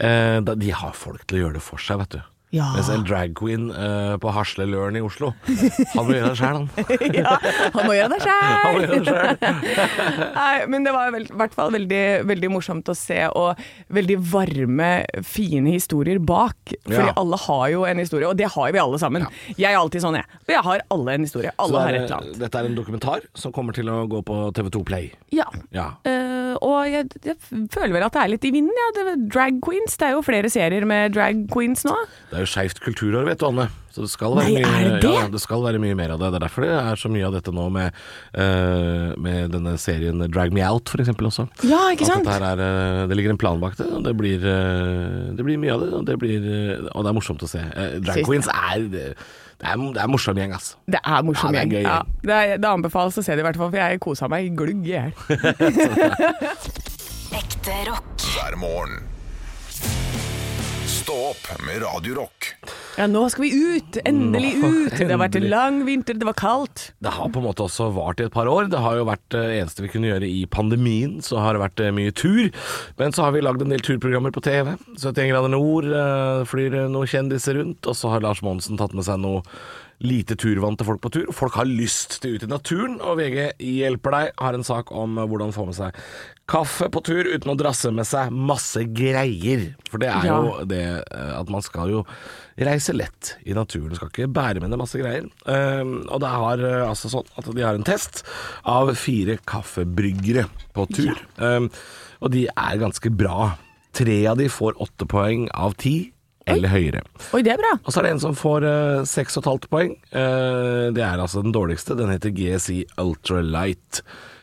[SPEAKER 3] eh, da, De har folk til å gjøre det for seg, vet du.
[SPEAKER 4] Ja.
[SPEAKER 3] Mens en drag queen eh, på Hasleløren i Oslo, han må gjøre det sjæl, han.
[SPEAKER 4] Ja, han må gjøre det
[SPEAKER 3] han må
[SPEAKER 4] sjæl!
[SPEAKER 3] gjøre det selv.
[SPEAKER 4] Nei, Men det var vel- i hvert fall veldig, veldig morsomt å se, og veldig varme, fine historier bak. Fordi
[SPEAKER 3] Ja.
[SPEAKER 4] alle har jo en historie, og det har vi alle sammen. Jeg er alltid sånn, jeg. For jeg har alle en historie. Alle
[SPEAKER 3] Så
[SPEAKER 4] har
[SPEAKER 3] det
[SPEAKER 4] et
[SPEAKER 3] er-
[SPEAKER 4] eller annet.
[SPEAKER 3] Dette er en dokumentar som kommer til å gå på TV2 Play.
[SPEAKER 4] Ja.
[SPEAKER 3] Ja.
[SPEAKER 4] Eh, og jeg, jeg føler vel at det er litt i vinden, ja. Det, drag queens. Det er jo flere serier med drag queens nå.
[SPEAKER 3] Det er jo skeivt kulturår, vet du, Anne. Så det skal, være
[SPEAKER 4] Nei,
[SPEAKER 3] mye,
[SPEAKER 4] er det det?
[SPEAKER 3] Ja, det skal være mye mer av det. Det er derfor det er så mye av dette nå med, eh, med denne serien Drag Me Out, for eksempel også.
[SPEAKER 4] Ja, ikke
[SPEAKER 3] At
[SPEAKER 4] sant?
[SPEAKER 3] dette her er, eh, det ligger en plan bak det, og det blir, eh, det blir mye av det. Og det, blir, eh, og det er morsomt å se. Eh, Drag
[SPEAKER 4] Sist.
[SPEAKER 3] queens er Det det er, det er en morsom gjeng, altså. ass.
[SPEAKER 4] Det er
[SPEAKER 3] Ja,
[SPEAKER 4] morsom
[SPEAKER 3] det er
[SPEAKER 4] gjeng.
[SPEAKER 3] gøy gjeng.
[SPEAKER 4] Ja, det, er- det anbefales å se det i hvert fall, for jeg kosa meg i glugg i hjel.
[SPEAKER 1] Ekte rock.
[SPEAKER 2] hver morgen. Stå opp med Radio Rock.
[SPEAKER 4] Ja, nå skal vi ut! Endelig ut! Det har vært en
[SPEAKER 3] endelig.
[SPEAKER 4] lang vinter, det var kaldt.
[SPEAKER 3] Det har på en måte også vart i et par år. Det har jo vært det eneste vi kunne gjøre i pandemien, så har det vært eh, mye tur. Men så har vi lagd en del turprogrammer på TV. 71 grader nord, eh, flyr eh, noen kjendiser rundt, og så har Lars Monsen tatt med seg noe lite turvante folk på tur. og Folk har lyst til ut i naturen, og VG hjelper deg. Har en sak om eh, hvordan få med seg kaffe på tur uten å drasse med seg masse greier. For det er
[SPEAKER 4] Ja.
[SPEAKER 3] jo det eh, at man skal jo reise lett i naturen. Skal ikke bære med deg masse greier. Ehm, og det har eh, altså sånn at de har en test av fire kaffebryggere på tur. Ehm, og de er ganske bra. Tre av de får åtte poeng av ti eller høyere.
[SPEAKER 4] Oi, det er bra.
[SPEAKER 3] Og så er det en som får eh, seks og et halvt poeng. Eh, det er altså den dårligste. Den heter GSI Ultralight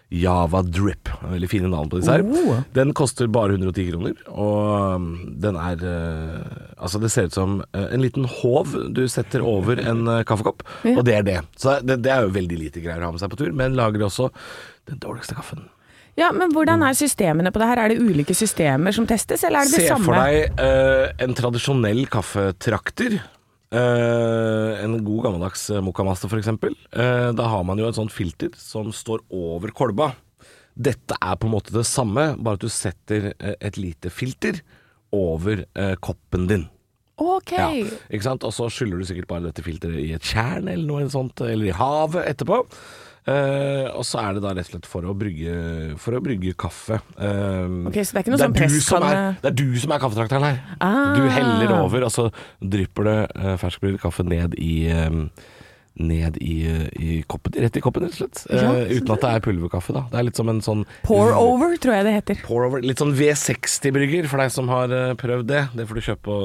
[SPEAKER 3] Java Drip. Veldig fine navn på disse her.
[SPEAKER 4] Oh.
[SPEAKER 3] Den koster bare 110 kroner, og mm, den er eh, Altså, det ser ut som eh, en liten håv du setter over en eh, kaffekopp,
[SPEAKER 4] Ja.
[SPEAKER 3] og det er det. Så det, det er jo veldig lite greier å ha med seg på tur, men lager også den dårligste kaffen.
[SPEAKER 4] Ja, Men hvordan er systemene på det her? Er det ulike systemer som testes, eller er det det
[SPEAKER 3] Mm. Se
[SPEAKER 4] samme?
[SPEAKER 3] for deg eh, en tradisjonell kaffetrakter. Eh, en god gammeldags eh, mokkamaster, f.eks. Uh, da har man jo et sånt filter som står over kolba. Dette er på en måte det samme, bare at du setter eh, et lite filter over eh, koppen din.
[SPEAKER 4] Ok.
[SPEAKER 3] Ja, ikke sant? Og så skyller du sikkert bare dette filteret i et tjern eller noe sånt, eller i havet etterpå. Eh, og så er det da rett og slett for å brygge, for å brygge kaffe. Eh,
[SPEAKER 4] Ok, så det er ikke noe sånn
[SPEAKER 3] du som
[SPEAKER 4] presskanne-
[SPEAKER 3] er, det er du som er kaffetrakteren her.
[SPEAKER 4] Ah.
[SPEAKER 3] Du heller over, og så drypper det uh, ferskbrygget kaffe ned i eh, ned i, eh, i koppen, rett i koppen, rett og slett. Eh, uten at det er pulverkaffe, da. Det er litt som en sånn
[SPEAKER 4] Pour over, tror jeg det heter.
[SPEAKER 3] Pour over. Litt sånn V60-brygger, for deg som har eh, prøvd det. Det får du kjøpe på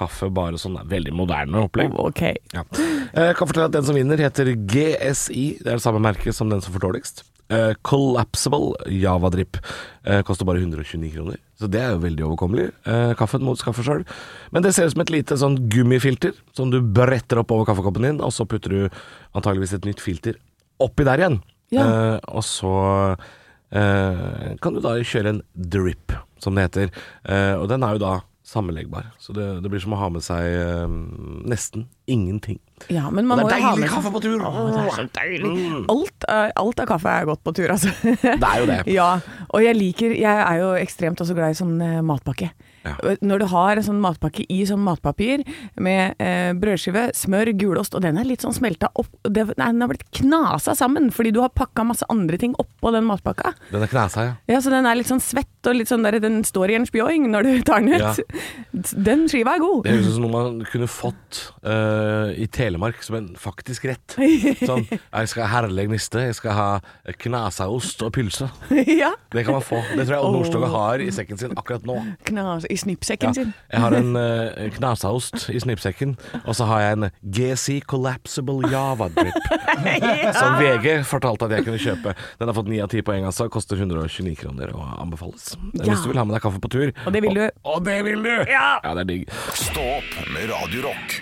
[SPEAKER 3] kaffe, bare sånn eh, veldig moderne opplegg.
[SPEAKER 4] Ok.
[SPEAKER 3] Ja. Eh, kan fortelle at den som vinner heter GSI. Det er det samme merket som den som får dårligst. Eh, collapsible Javadrip. Eh, koster bare 129 kroner. Så det er jo veldig overkommelig. Eh, kaffen må du skaffe sjøl. Men det ser ut som et lite sånn gummifilter som du bretter opp over kaffekoppen din, og så putter du antageligvis et nytt filter oppi der igjen.
[SPEAKER 4] Ja.
[SPEAKER 3] Eh, og så eh, kan du da kjøre en drip, som det heter. Eh, og den er jo da sammenleggbar. Så det, det blir som å ha med seg eh, nesten ingenting.
[SPEAKER 4] Ja, men man
[SPEAKER 3] Og
[SPEAKER 4] må
[SPEAKER 3] det
[SPEAKER 4] jo
[SPEAKER 3] er
[SPEAKER 4] ha med
[SPEAKER 3] deilig kaffe på tur! Mm.
[SPEAKER 4] Åh, det er så deilig. Alt, er- alt av kaffe er godt på tur, altså.
[SPEAKER 3] Det er jo det.
[SPEAKER 4] Ja, og jeg liker Jeg er jo ekstremt også glad i sånn eh, matpakke.
[SPEAKER 3] Ja.
[SPEAKER 4] Og Når du har en sånn matpakke i sånn matpapir med eh, brødskive, smør, gulost, og den er litt sånn smelta opp og det, nei, Den har blitt knasa sammen fordi du har pakka masse andre ting oppå den matpakka.
[SPEAKER 3] Den er knæsa, ja.
[SPEAKER 4] Ja, Så den er litt sånn svett og litt sånn der, den står i en spjoing når du tar den ut.
[SPEAKER 3] Ja.
[SPEAKER 4] Den skiva er god.
[SPEAKER 3] Det høres ut som noe man kunne fått eh, i Telemark som en faktisk rett. Sånn, jeg skal ha herlig niste, jeg skal ha knasaost og pylse.
[SPEAKER 4] ja.
[SPEAKER 3] Det kan man få. Det tror jeg Odd
[SPEAKER 4] Åh.
[SPEAKER 3] Nordstoga har i sekken sin akkurat nå.
[SPEAKER 4] Knas i
[SPEAKER 3] Ja,
[SPEAKER 4] snippsekken sin.
[SPEAKER 3] jeg har en eh, knasaost i snippsekken, og så har jeg en GC Collapsible Java Drip. Som VG fortalte at jeg kunne kjøpe. Den har fått 9 av 10 poeng, altså. Koster 129 kroner og anbefales.
[SPEAKER 4] Ja.
[SPEAKER 3] Hvis du vil ha med deg kaffe på tur.
[SPEAKER 4] Og det vil du.
[SPEAKER 3] Og, og det vil du! Ja, det er digg.
[SPEAKER 2] Stå opp med Radio Rock.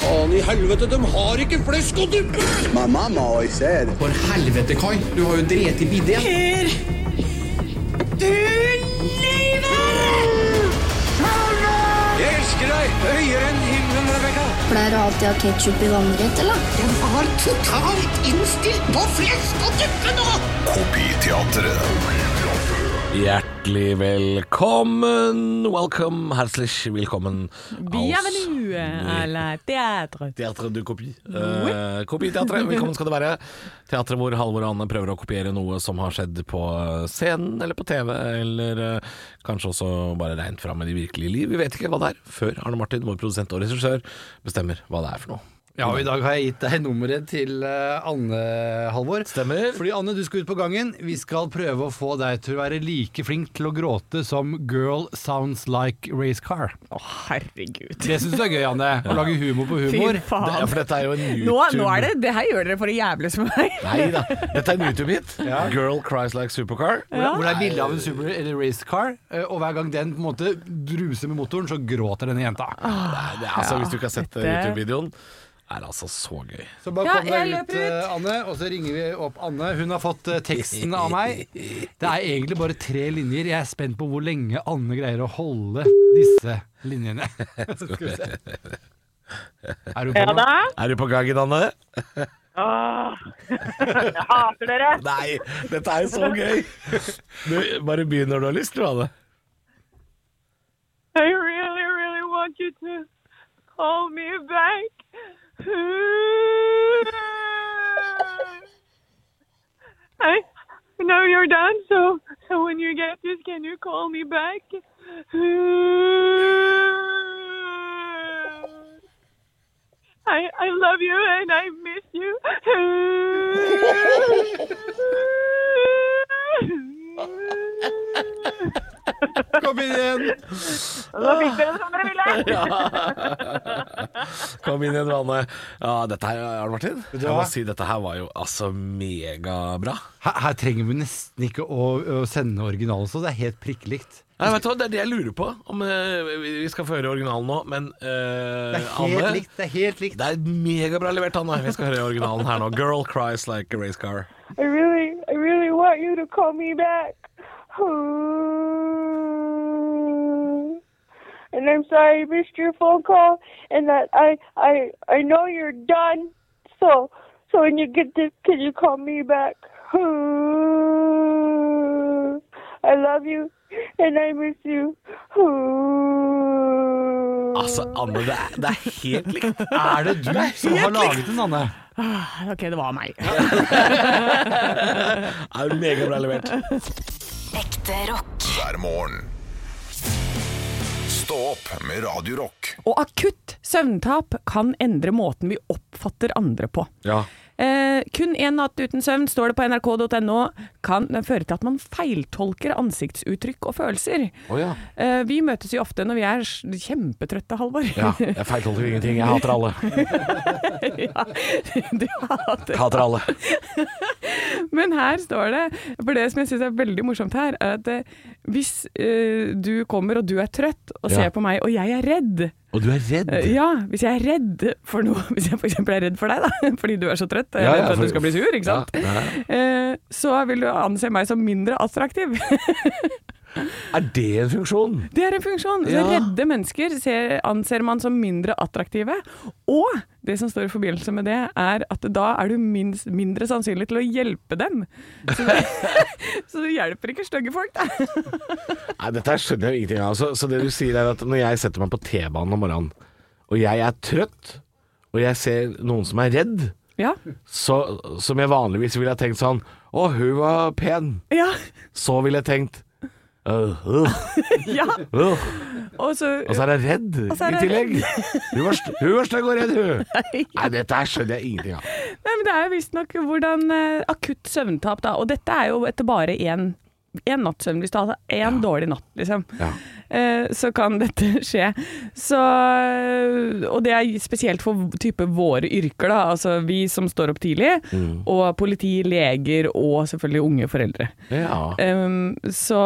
[SPEAKER 7] Faen i helvete, de har ikke flesk og duppe!
[SPEAKER 8] My mom always said,
[SPEAKER 7] For helvete, Kai. Du har jo drept i bidé. Jeg elsker deg høyere enn himmelen, Rebekka.
[SPEAKER 9] Pleier du alltid å ha ketsjup i vannrett, eller?
[SPEAKER 7] Den var totalt innstilt på flesk og duppe nå!
[SPEAKER 2] Kopiteatret.
[SPEAKER 3] Hjertelig velkommen. Welcome, herzlich velkommen.
[SPEAKER 4] Bienvenue à la théâtre.
[SPEAKER 3] Teatret du kopi. Eh, Kopiteatret, velkommen skal det være. Teatret hvor Halvor og Anne prøver å kopiere noe som har skjedd på eh, scenen eller på TV, eller eh, kanskje også bare regnet fram i det virkelige liv. Vi vet ikke hva det er før Arne Martin, vår produsent og regissør, bestemmer hva det er for noe.
[SPEAKER 10] Ja, og I dag har jeg gitt deg nummeret til eh, Anne, Halvor.
[SPEAKER 3] Stemmer.
[SPEAKER 10] Fordi Anne, du skal ut på gangen. Vi skal prøve å få deg til å være like flink til å gråte som 'Girl Sounds Like Race Car'.
[SPEAKER 4] Å, herregud.
[SPEAKER 10] Det syns du er gøy, Anne. Å lage humor på humor.
[SPEAKER 4] Fy faen.
[SPEAKER 3] Ja, for dette er jo en YouTube...
[SPEAKER 4] Ah. Nå, nå er det Det her gjør dere for å jævles med meg.
[SPEAKER 3] Nei da, dette er en YouTube-hit. Girl cries like supercar.
[SPEAKER 10] Hvor- Hvor det er bilde av en super eller race car, eh, og hver gang den på en måte druser med motoren, så gråter denne jenta.
[SPEAKER 3] Nei, det, er altså, hvis du ikke har sett eh,
[SPEAKER 4] dette-
[SPEAKER 3] YouTube-videoen, er altså så gøy.
[SPEAKER 10] Så bare
[SPEAKER 4] Ja,
[SPEAKER 10] kom deg
[SPEAKER 4] jeg
[SPEAKER 10] ut,
[SPEAKER 4] løper ut.
[SPEAKER 10] eh, Anne, og så ringer vi opp Anne. Hun har fått eh, teksten av meg. Det er egentlig bare tre linjer. Jeg er spent på hvor lenge Anne greier å holde disse linjene. Skal vi se. Er hun på nå?
[SPEAKER 3] Er du på gangen, Anne?
[SPEAKER 11] Jeg hater dere.
[SPEAKER 3] Nei, dette er jo så gøy! Du, bare begynn når du har lyst, du, Anne.
[SPEAKER 11] I really, really want you to
[SPEAKER 8] hold me back. I know you're done, so so when you get this, can you call me back? I I love you and I miss you.
[SPEAKER 10] Kom inn igjen!
[SPEAKER 8] Og da fikk dere det som dere ville.
[SPEAKER 3] Kom inn igjen, Vanne. Ja, dette her, Arne Martin, jeg
[SPEAKER 10] hva?
[SPEAKER 3] må si dette her var jo altså megabra.
[SPEAKER 10] Her, her trenger vi nesten ikke å, å sende originalen, så det er helt prikkelikt.
[SPEAKER 3] Nei, vet du hva, Det er det jeg lurer på. Om eh, vi vi skal få høre originalen nå, men eh,
[SPEAKER 10] Det er helt
[SPEAKER 3] Anne,
[SPEAKER 10] likt. Det er helt likt.
[SPEAKER 3] Det er megabra levert, Anne. Vi skal høre originalen her nå. 'Girl Cries Like a Race Car'.
[SPEAKER 8] I really, I really want you to call me back. And I'm sorry I missed your phone call, and that I, I, I know you're done. So, so when you get this, can you call me back? I love you, and I miss you.
[SPEAKER 3] Altså, Anne, det er, det er helt likt.
[SPEAKER 10] Er det du som har laget den, Anne?
[SPEAKER 4] Ok, det var meg.
[SPEAKER 3] Det er megabra levert.
[SPEAKER 1] Ekte rock.
[SPEAKER 2] hver morgen. Stå opp med Radio Rock.
[SPEAKER 4] Og akutt søvntap kan endre måten vi oppfatter andre på.
[SPEAKER 3] Ja.
[SPEAKER 4] Eh, kun én natt uten søvn, står det på nrk.no, kan den føre til at man feiltolker ansiktsuttrykk og følelser.
[SPEAKER 3] ja.
[SPEAKER 4] Eh, vi møtes jo ofte når vi er s- kjempetrøtte, Halvor.
[SPEAKER 3] ja. Jeg feiltolker ingenting. Jeg hater alle.
[SPEAKER 4] Ja, du hater
[SPEAKER 3] Hater alle.
[SPEAKER 4] Men her står det, for det som jeg syns er veldig morsomt her, er at eh, hvis eh, du kommer og du er trøtt og
[SPEAKER 3] Ja.
[SPEAKER 4] ser på meg og jeg er redd
[SPEAKER 3] Og du er redd?
[SPEAKER 4] eh, Ja, hvis jeg er redd for noe, hvis jeg f.eks. er redd for deg, da, fordi du er så trøtt og jeg
[SPEAKER 3] Ja, ja,
[SPEAKER 4] er redd for at
[SPEAKER 3] for-
[SPEAKER 4] du skal bli sur, ikke sant.
[SPEAKER 3] Ja, ja.
[SPEAKER 4] Eh, Så vil du anse meg som mindre attraktiv.
[SPEAKER 3] Er det en funksjon?
[SPEAKER 4] Det er en funksjon. Så
[SPEAKER 3] Ja.
[SPEAKER 4] Redde mennesker ser, anser man som mindre attraktive. Og det som står i forbindelse med det, er at da er du minst, mindre sannsynlig til å hjelpe dem. Så det, så det hjelper ikke stygge folk, da.
[SPEAKER 3] Nei, dette her skjønner jeg jo ingenting av. Så, så det du sier er at når jeg setter meg på T-banen om morgenen, og jeg er trøtt, og jeg ser noen som er redd,
[SPEAKER 4] Ja.
[SPEAKER 3] så, som jeg vanligvis ville ha tenkt sånn Å, hun var pen.
[SPEAKER 4] Ja.
[SPEAKER 3] Så ville jeg tenkt «Øh, øh,
[SPEAKER 4] ja.
[SPEAKER 3] øh».
[SPEAKER 4] Og så
[SPEAKER 3] Og så er jeg redd
[SPEAKER 4] så
[SPEAKER 3] i
[SPEAKER 4] er jeg
[SPEAKER 3] tillegg. Hun var st- hun var stygg og redd, hun. Nei, dette her skjønner jeg ingenting av.
[SPEAKER 4] Nei, men det er jo visstnok hvordan eh, akutt søvntap, da. Og dette er jo etter bare én en natts søvn, hvis du har én dårlig natt, liksom.
[SPEAKER 3] Ja.
[SPEAKER 4] Eh, Så kan dette skje. Så, eh, og det er spesielt for type våre yrker, da. Altså vi som står opp tidlig,
[SPEAKER 3] Mm.
[SPEAKER 4] og politi, leger og selvfølgelig unge foreldre.
[SPEAKER 3] Ja.
[SPEAKER 4] Um, så,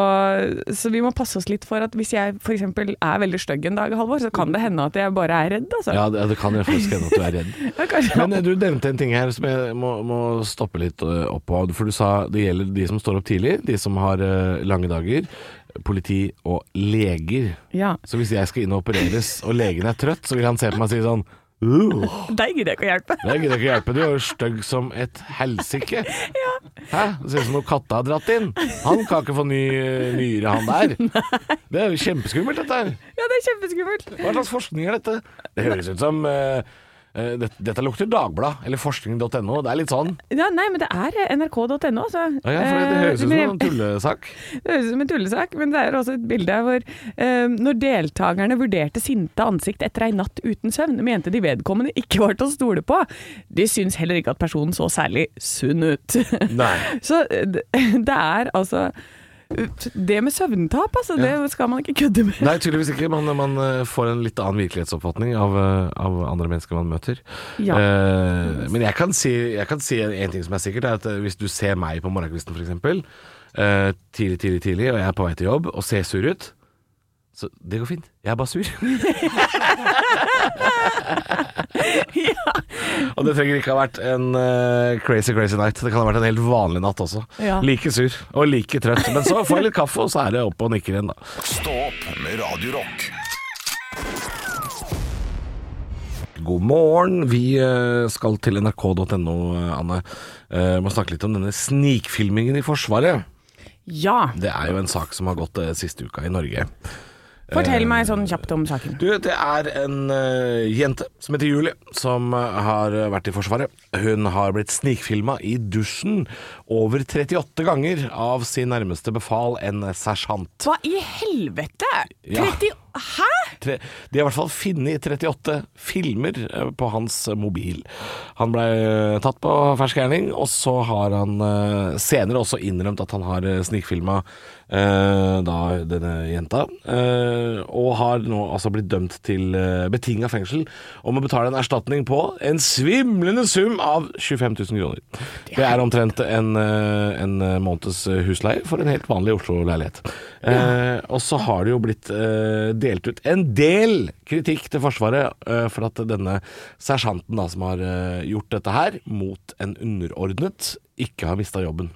[SPEAKER 4] så vi må passe oss litt for at hvis jeg f.eks. er veldig stygg en dag, Halvor, så kan det hende at jeg bare er redd, altså.
[SPEAKER 3] Ja, det, det kan jo faktisk hende at du er redd.
[SPEAKER 4] Ja, kanskje.
[SPEAKER 3] Men eh, du nevnte en ting her som jeg må, må stoppe litt eh, opp på. For du sa det gjelder de som står opp tidlig, de som har eh, lange dager, politi og leger.
[SPEAKER 4] Ja.
[SPEAKER 3] Så hvis jeg skal inn og opereres, og legen er trøtt, så vil han se på meg og si sånn «Uh,
[SPEAKER 4] Deg gidder jeg ikke å hjelpe.
[SPEAKER 3] Jeg gidder ikke hjelpe, du er jo stygg som et helsike. Hæ? Det ser ut som noen katta har dratt inn. Han kan ikke få ny eh, nyre, han der. Det er jo kjempeskummelt, dette her.
[SPEAKER 4] Ja, det er kjempeskummelt.
[SPEAKER 3] Hva slags forskning er dette? Det høres ut som eh, eh, det, Dette lukter Dagblad eller forskning.no. Det er litt sånn.
[SPEAKER 4] Ja, nei, men det er nrk.no, altså.
[SPEAKER 3] Ja, ja, for det, det
[SPEAKER 4] Eh,
[SPEAKER 3] høres ut som
[SPEAKER 4] men-
[SPEAKER 3] en tullesak.
[SPEAKER 4] Det høres ut som en tullesak, men det er også et bilde hvor eh, når deltakerne vurderte sinte ansikt etter ei natt uten søvn, mente de vedkommende ikke var til å stole på. De syns heller ikke at personen så særlig sunn ut.
[SPEAKER 3] Nei.
[SPEAKER 4] så eh, det det er altså Det med søvntap, altså, det skal man ikke kødde med.
[SPEAKER 3] Nei, tydeligvis ikke. Man, man eh, får en litt annen virkelighetsoppfatning av, eh, av andre mennesker man møter.
[SPEAKER 4] Ja.
[SPEAKER 3] Eh, men jeg kan, si, jeg kan si en, en ting som er sikkert, er at eh, hvis du ser meg på morgenkvisten f.eks. Uh, tidlig, tidlig, tidlig, og jeg er på vei til jobb og ser sur ut, så det går fint. Jeg er bare sur. Og det trenger ikke ha vært en eh, crazy, crazy night. Det kan ha vært en helt vanlig natt også.
[SPEAKER 4] Ja.
[SPEAKER 3] Like sur og like trøtt. Men så får jeg litt kaffe, og så er det opp og nikker igjen, da.
[SPEAKER 2] Stå opp med Radio Rock
[SPEAKER 3] God morgen. Vi eh, skal til nrk.no, eh, Anne. Eh, Må snakke litt om denne snikfilmingen i Forsvaret.
[SPEAKER 4] Ja.
[SPEAKER 3] Det er jo en sak som har gått eh, siste uka i Norge.
[SPEAKER 4] Fortell meg sånn kjapt om saken.
[SPEAKER 3] Du, det er en eh, jente som heter Julie, som eh, har vært i Forsvaret. Hun har blitt snikfilma i dusjen over 38 ganger av sin nærmeste befal, en sersjant.
[SPEAKER 4] Hva i helvete?
[SPEAKER 3] Ja.
[SPEAKER 4] 30 Hæ?
[SPEAKER 3] Tre, de har i hvert fall funnet 38 filmer eh, på hans eh, mobil. Han ble eh, tatt på fersk gjerning, og så har han eh, senere også innrømt at han har eh, snikfilma eh, da denne jenta, eh, og har nå altså blitt dømt til eh, betinga fengsel og må betale en erstatning på en svimlende sum av 25 000 kroner. Det er omtrent en, eh, en måneds eh, husleie for en helt vanlig Oslo-leilighet. Eh, og så har det jo blitt eh, delt ut en del kritikk til Forsvaret eh, for at denne sersjanten da, som har eh, gjort dette her, mot en underordnet, ikke har mista jobben.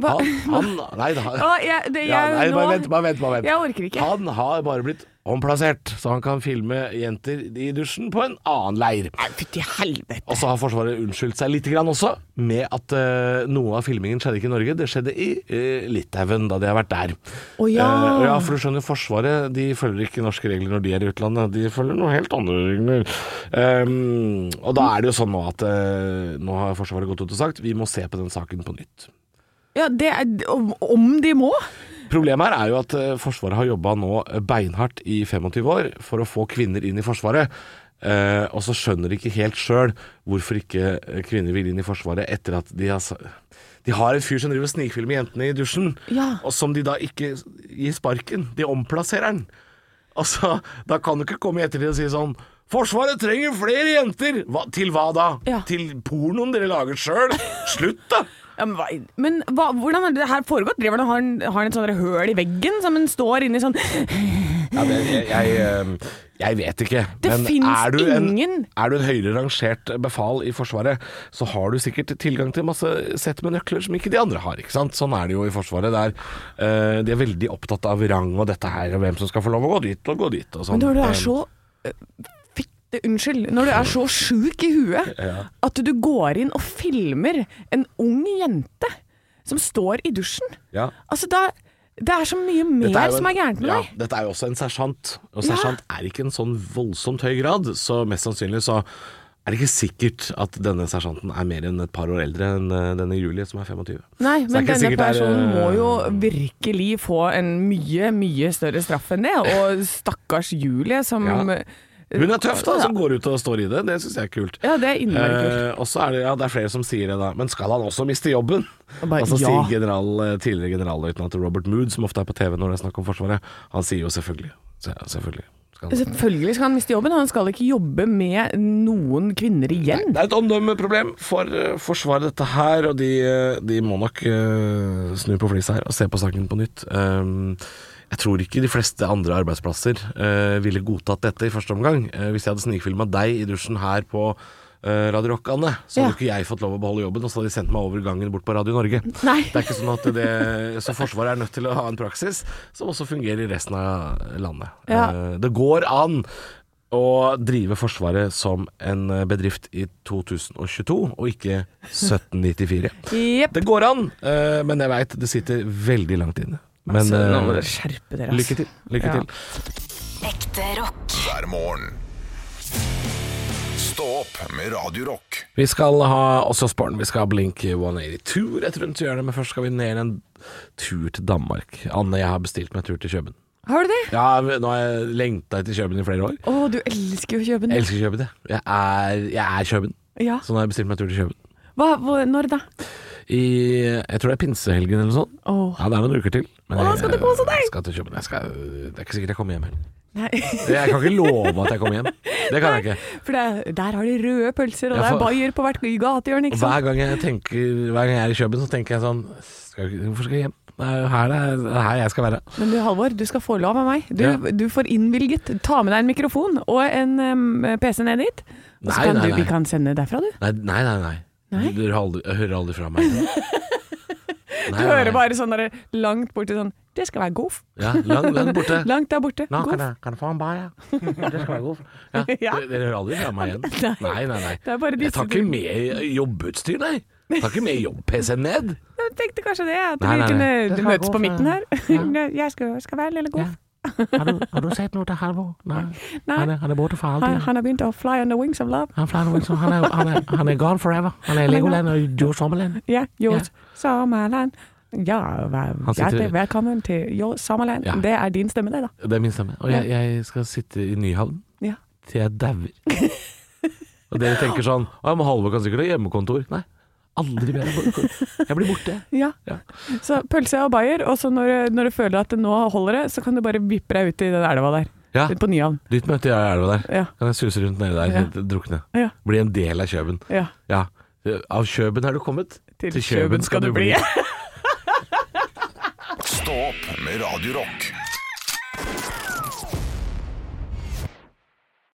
[SPEAKER 4] Hva-
[SPEAKER 3] han, han, nei, da,
[SPEAKER 4] Å, jeg, det, jeg,
[SPEAKER 3] ja, nei,
[SPEAKER 4] nå,
[SPEAKER 3] bare vent, bare vent, bare vent.
[SPEAKER 4] Jeg orker ikke.
[SPEAKER 3] Han har bare blitt omplassert, så han kan filme jenter i dusjen på en annen leir.
[SPEAKER 4] Nei, Fytti helvete.
[SPEAKER 3] Og så har Forsvaret unnskyldt seg litt grann også, med at eh, noe av filmingen skjedde ikke i Norge, det skjedde i eh, Litauen, da de har vært der.
[SPEAKER 4] Å, ja.
[SPEAKER 3] Eh, ja, for du skjønner, Forsvaret de følger ikke norske regler når de er i utlandet, de følger noe helt andre regler. Ehm, og da er det jo sånn nå at eh, nå har Forsvaret gått ut og sagt vi må se på den saken på nytt.
[SPEAKER 4] Ja, det er, om, om de må?
[SPEAKER 3] Problemet her er jo at eh, Forsvaret har jobba nå eh, beinhardt i 25 år for å få kvinner inn i Forsvaret. Eh, og så skjønner de ikke helt sjøl hvorfor ikke eh, kvinner vil inn i Forsvaret etter at de har sa- De har en fyr som driver og snikfilmer jentene i dusjen,
[SPEAKER 4] Ja.
[SPEAKER 3] og som de da ikke gir sparken. De omplasserer den. Altså, da kan du ikke komme i ettertid og si sånn Forsvaret trenger flere jenter! Hva, til hva da?
[SPEAKER 4] Ja.
[SPEAKER 3] Til pornoen dere lager sjøl? Slutt, da!
[SPEAKER 4] Ja, men hva, men hva, hvordan har det her foregått? Driver han har han har han et sånt der høl i veggen som han står inni sånn
[SPEAKER 3] Ja, det, jeg, jeg, eh, jeg vet ikke.
[SPEAKER 4] Det
[SPEAKER 3] men
[SPEAKER 4] finnes
[SPEAKER 3] er du En,
[SPEAKER 4] ingen-
[SPEAKER 3] er du en høyere rangert befal i Forsvaret, så har du sikkert tilgang til masse sett med nøkler som ikke de andre har. ikke sant? Sånn er det jo i Forsvaret. Der, eh, de er veldig opptatt av rang og dette her, og hvem som skal få lov å gå dit og gå dit. Og sånn.
[SPEAKER 4] Men når du
[SPEAKER 3] Eh,
[SPEAKER 4] er så eh, Fitte, unnskyld. Når du er så sjuk i huet at du går inn og filmer en ung jente som står i dusjen.
[SPEAKER 3] Ja.
[SPEAKER 4] Altså, da Det er så mye mer
[SPEAKER 3] Dette jo
[SPEAKER 4] som er
[SPEAKER 3] en-
[SPEAKER 4] gærent med
[SPEAKER 3] ja,
[SPEAKER 4] deg.
[SPEAKER 3] Dette er jo også en sersjant, og
[SPEAKER 4] Ja.
[SPEAKER 3] sersjant er ikke en sånn voldsomt høy grad, så mest sannsynlig så er det ikke sikkert at denne sersjanten er mer enn et par år eldre enn eh, denne Julie, som er 25.
[SPEAKER 4] Nei,
[SPEAKER 3] Så det er
[SPEAKER 4] men
[SPEAKER 3] ikke
[SPEAKER 4] denne
[SPEAKER 3] sikkert det er,
[SPEAKER 4] personen må
[SPEAKER 3] eh,
[SPEAKER 4] jo virkelig få en mye, mye større straff enn det. Og stakkars Julie som eh,
[SPEAKER 3] Ja. Hun er tøff, da,
[SPEAKER 4] Ja.
[SPEAKER 3] som går ut og står i det. Det syns jeg er kult.
[SPEAKER 4] Ja, det er innmari kult.
[SPEAKER 3] Eh, og så er det, ja, det er flere som sier det, da. Men skal han også miste jobben?
[SPEAKER 4] Og bare,
[SPEAKER 3] altså,
[SPEAKER 4] ja.
[SPEAKER 3] sier general, eh, tidligere generalløytnant Robert Mood, som ofte er på TV når det er snakk om Forsvaret, han sier jo selvfølgelig. Så, ja, selvfølgelig. Skal han.
[SPEAKER 4] Selvfølgelig skal han miste jobben, og han skal ikke jobbe med noen kvinner igjen.
[SPEAKER 3] Det er et omdømmeproblem for eh, Forsvaret, dette her. Og de, eh, de må nok eh, snu på flisa her og se på saken på nytt. Um, jeg tror ikke de fleste andre arbeidsplasser eh, ville godtatt dette i første omgang. Eh, hvis jeg hadde snikfilma deg i dusjen her på eh, Radio Rock, Anne, så
[SPEAKER 4] Ja.
[SPEAKER 3] hadde ikke jeg fått lov å beholde jobben, og så hadde de sendt meg over gangen bort på Radio Norge.
[SPEAKER 4] Nei.
[SPEAKER 3] Det er ikke sånn at det Så Forsvaret er nødt til å ha en praksis som også fungerer i resten av landet.
[SPEAKER 4] Ja.
[SPEAKER 3] Eh, Det går an å drive Forsvaret som en bedrift i 2022, og ikke 1794.
[SPEAKER 4] Jepp.
[SPEAKER 3] Det går an, eh, men jeg veit det sitter veldig langt inne. Men
[SPEAKER 4] Altså, nå må
[SPEAKER 3] eh,
[SPEAKER 4] dere skjerpe dere.
[SPEAKER 3] lykke til. Lykke
[SPEAKER 4] Ja.
[SPEAKER 3] til.
[SPEAKER 1] Ekte rock.
[SPEAKER 2] hver morgen. Stå opp med Radio Rock.
[SPEAKER 3] Vi skal ha også sporten. Vi skal ha Blink 182 rett rundt hjørnet, men først skal vi ned en tur til Danmark. Anne, jeg har bestilt meg tur til København.
[SPEAKER 4] Har du det?
[SPEAKER 3] Ja, nå har jeg lengta etter København i flere år.
[SPEAKER 4] Å, du elsker jo Køben.
[SPEAKER 3] Jeg elsker Kjøben, jeg. Jeg er, jeg er Kjøben.
[SPEAKER 4] Ja.
[SPEAKER 3] Så nå har jeg bestilt meg tur til Kjøben.
[SPEAKER 4] Hva, hvor, når da?
[SPEAKER 3] I, jeg tror det er pinsehelgen eller sånn.
[SPEAKER 4] Åh.
[SPEAKER 3] Ja, det er noen uker til. Men
[SPEAKER 4] Åh, skal du kose deg?
[SPEAKER 3] Jeg skal til Kjøben. Jeg skal, det er ikke sikkert jeg kommer hjem heller.
[SPEAKER 4] Nei.
[SPEAKER 3] Jeg kan ikke love at jeg kommer hjem. Det kan jeg ikke.
[SPEAKER 4] For det, der har de røde pølser, og
[SPEAKER 3] Ja,
[SPEAKER 4] det er
[SPEAKER 3] for-
[SPEAKER 4] bayer på hvert gatehjørne, ikke sant?
[SPEAKER 3] Hver gang jeg tenker Hver gang jeg er i Kjøben, så tenker jeg sånn skal, jeg- Hvorfor skal jeg hjem? Det er jo her, det er, det er her jeg skal være.
[SPEAKER 4] Men du, Halvor, du skal få lov av meg. Du,
[SPEAKER 3] Ja.
[SPEAKER 4] du får innvilget. Ta med deg en mikrofon og en em, PC ned dit. Og så
[SPEAKER 3] Nei,
[SPEAKER 4] kan
[SPEAKER 3] nei,
[SPEAKER 4] du,
[SPEAKER 3] nei.
[SPEAKER 4] vi kan sende derfra, du.
[SPEAKER 3] Nei, nei, nei. nei.
[SPEAKER 4] Nei?
[SPEAKER 3] Du, du hører, aldri, hører aldri fra meg.
[SPEAKER 4] Du hører bare sånn der langt borti sånn Det skal være god.
[SPEAKER 3] Ja, langt, langt borte.
[SPEAKER 4] Langt der borte.
[SPEAKER 3] Nå,
[SPEAKER 4] Goff.
[SPEAKER 3] kan jeg, kan jeg få en bajer? Det skal være god. Ja,
[SPEAKER 4] Ja.
[SPEAKER 3] Dere, dere hører aldri fra meg igjen?
[SPEAKER 4] Nei.
[SPEAKER 3] Nei, nei, nei.
[SPEAKER 4] Det er bare
[SPEAKER 3] jeg
[SPEAKER 4] disse
[SPEAKER 3] tar ikke med jobbutstyr, nei. Jeg tar ikke med jobb-PC-en ned.
[SPEAKER 4] Jeg tenkte kanskje det, at
[SPEAKER 3] Nei,
[SPEAKER 4] vi
[SPEAKER 3] nei, nei.
[SPEAKER 4] kunne
[SPEAKER 3] Det skal
[SPEAKER 4] møtes
[SPEAKER 3] gå
[SPEAKER 4] på
[SPEAKER 3] for-
[SPEAKER 4] midten her. Jeg skal, skal være lille Goff.
[SPEAKER 3] Har du, har du sett noe til Halvor? Nei.
[SPEAKER 4] Nei.
[SPEAKER 3] Han, er, han er borte fra
[SPEAKER 4] Han,
[SPEAKER 3] Alderen.
[SPEAKER 4] han har begynt å fly on the wings of love.
[SPEAKER 3] Han, flyr rundt som- han, er, han, er, han er gone forever. Han er i Legoland og i Joe Sommerland.
[SPEAKER 4] Ja, Jord
[SPEAKER 3] Ja.
[SPEAKER 4] Sommerland. Ja, vær,
[SPEAKER 3] Han sitter-
[SPEAKER 4] hjertelig velkommen til Jord Sommerland.
[SPEAKER 3] Ja.
[SPEAKER 4] Det er din stemme, det, da.
[SPEAKER 3] Det er min stemme. Og jeg, jeg skal sitte i Nyhavn
[SPEAKER 4] Ja.
[SPEAKER 3] til jeg dauer. Og dere tenker sånn Å, men Halvor kan sikkert ha hjemmekontor. Nei. Aldri mer. Jeg blir borte.
[SPEAKER 4] Ja.
[SPEAKER 3] Ja.
[SPEAKER 4] Så pølse og bayer, og så når, når du føler at det nå holder det, så kan du bare vippe deg ut i den elva der.
[SPEAKER 3] Ja.
[SPEAKER 4] På Nyhavn.
[SPEAKER 3] Ditt møte jeg i elva der.
[SPEAKER 4] Ja.
[SPEAKER 3] Kan jeg suse rundt nedi der,
[SPEAKER 4] Ja.
[SPEAKER 3] helt drukne.
[SPEAKER 4] Ja.
[SPEAKER 3] Bli en del av Kjøben.
[SPEAKER 4] Ja.
[SPEAKER 3] Ja. Av Kjøben er du kommet.
[SPEAKER 4] Til Kjøben skal du bli.
[SPEAKER 2] Stå opp med Radio Rock.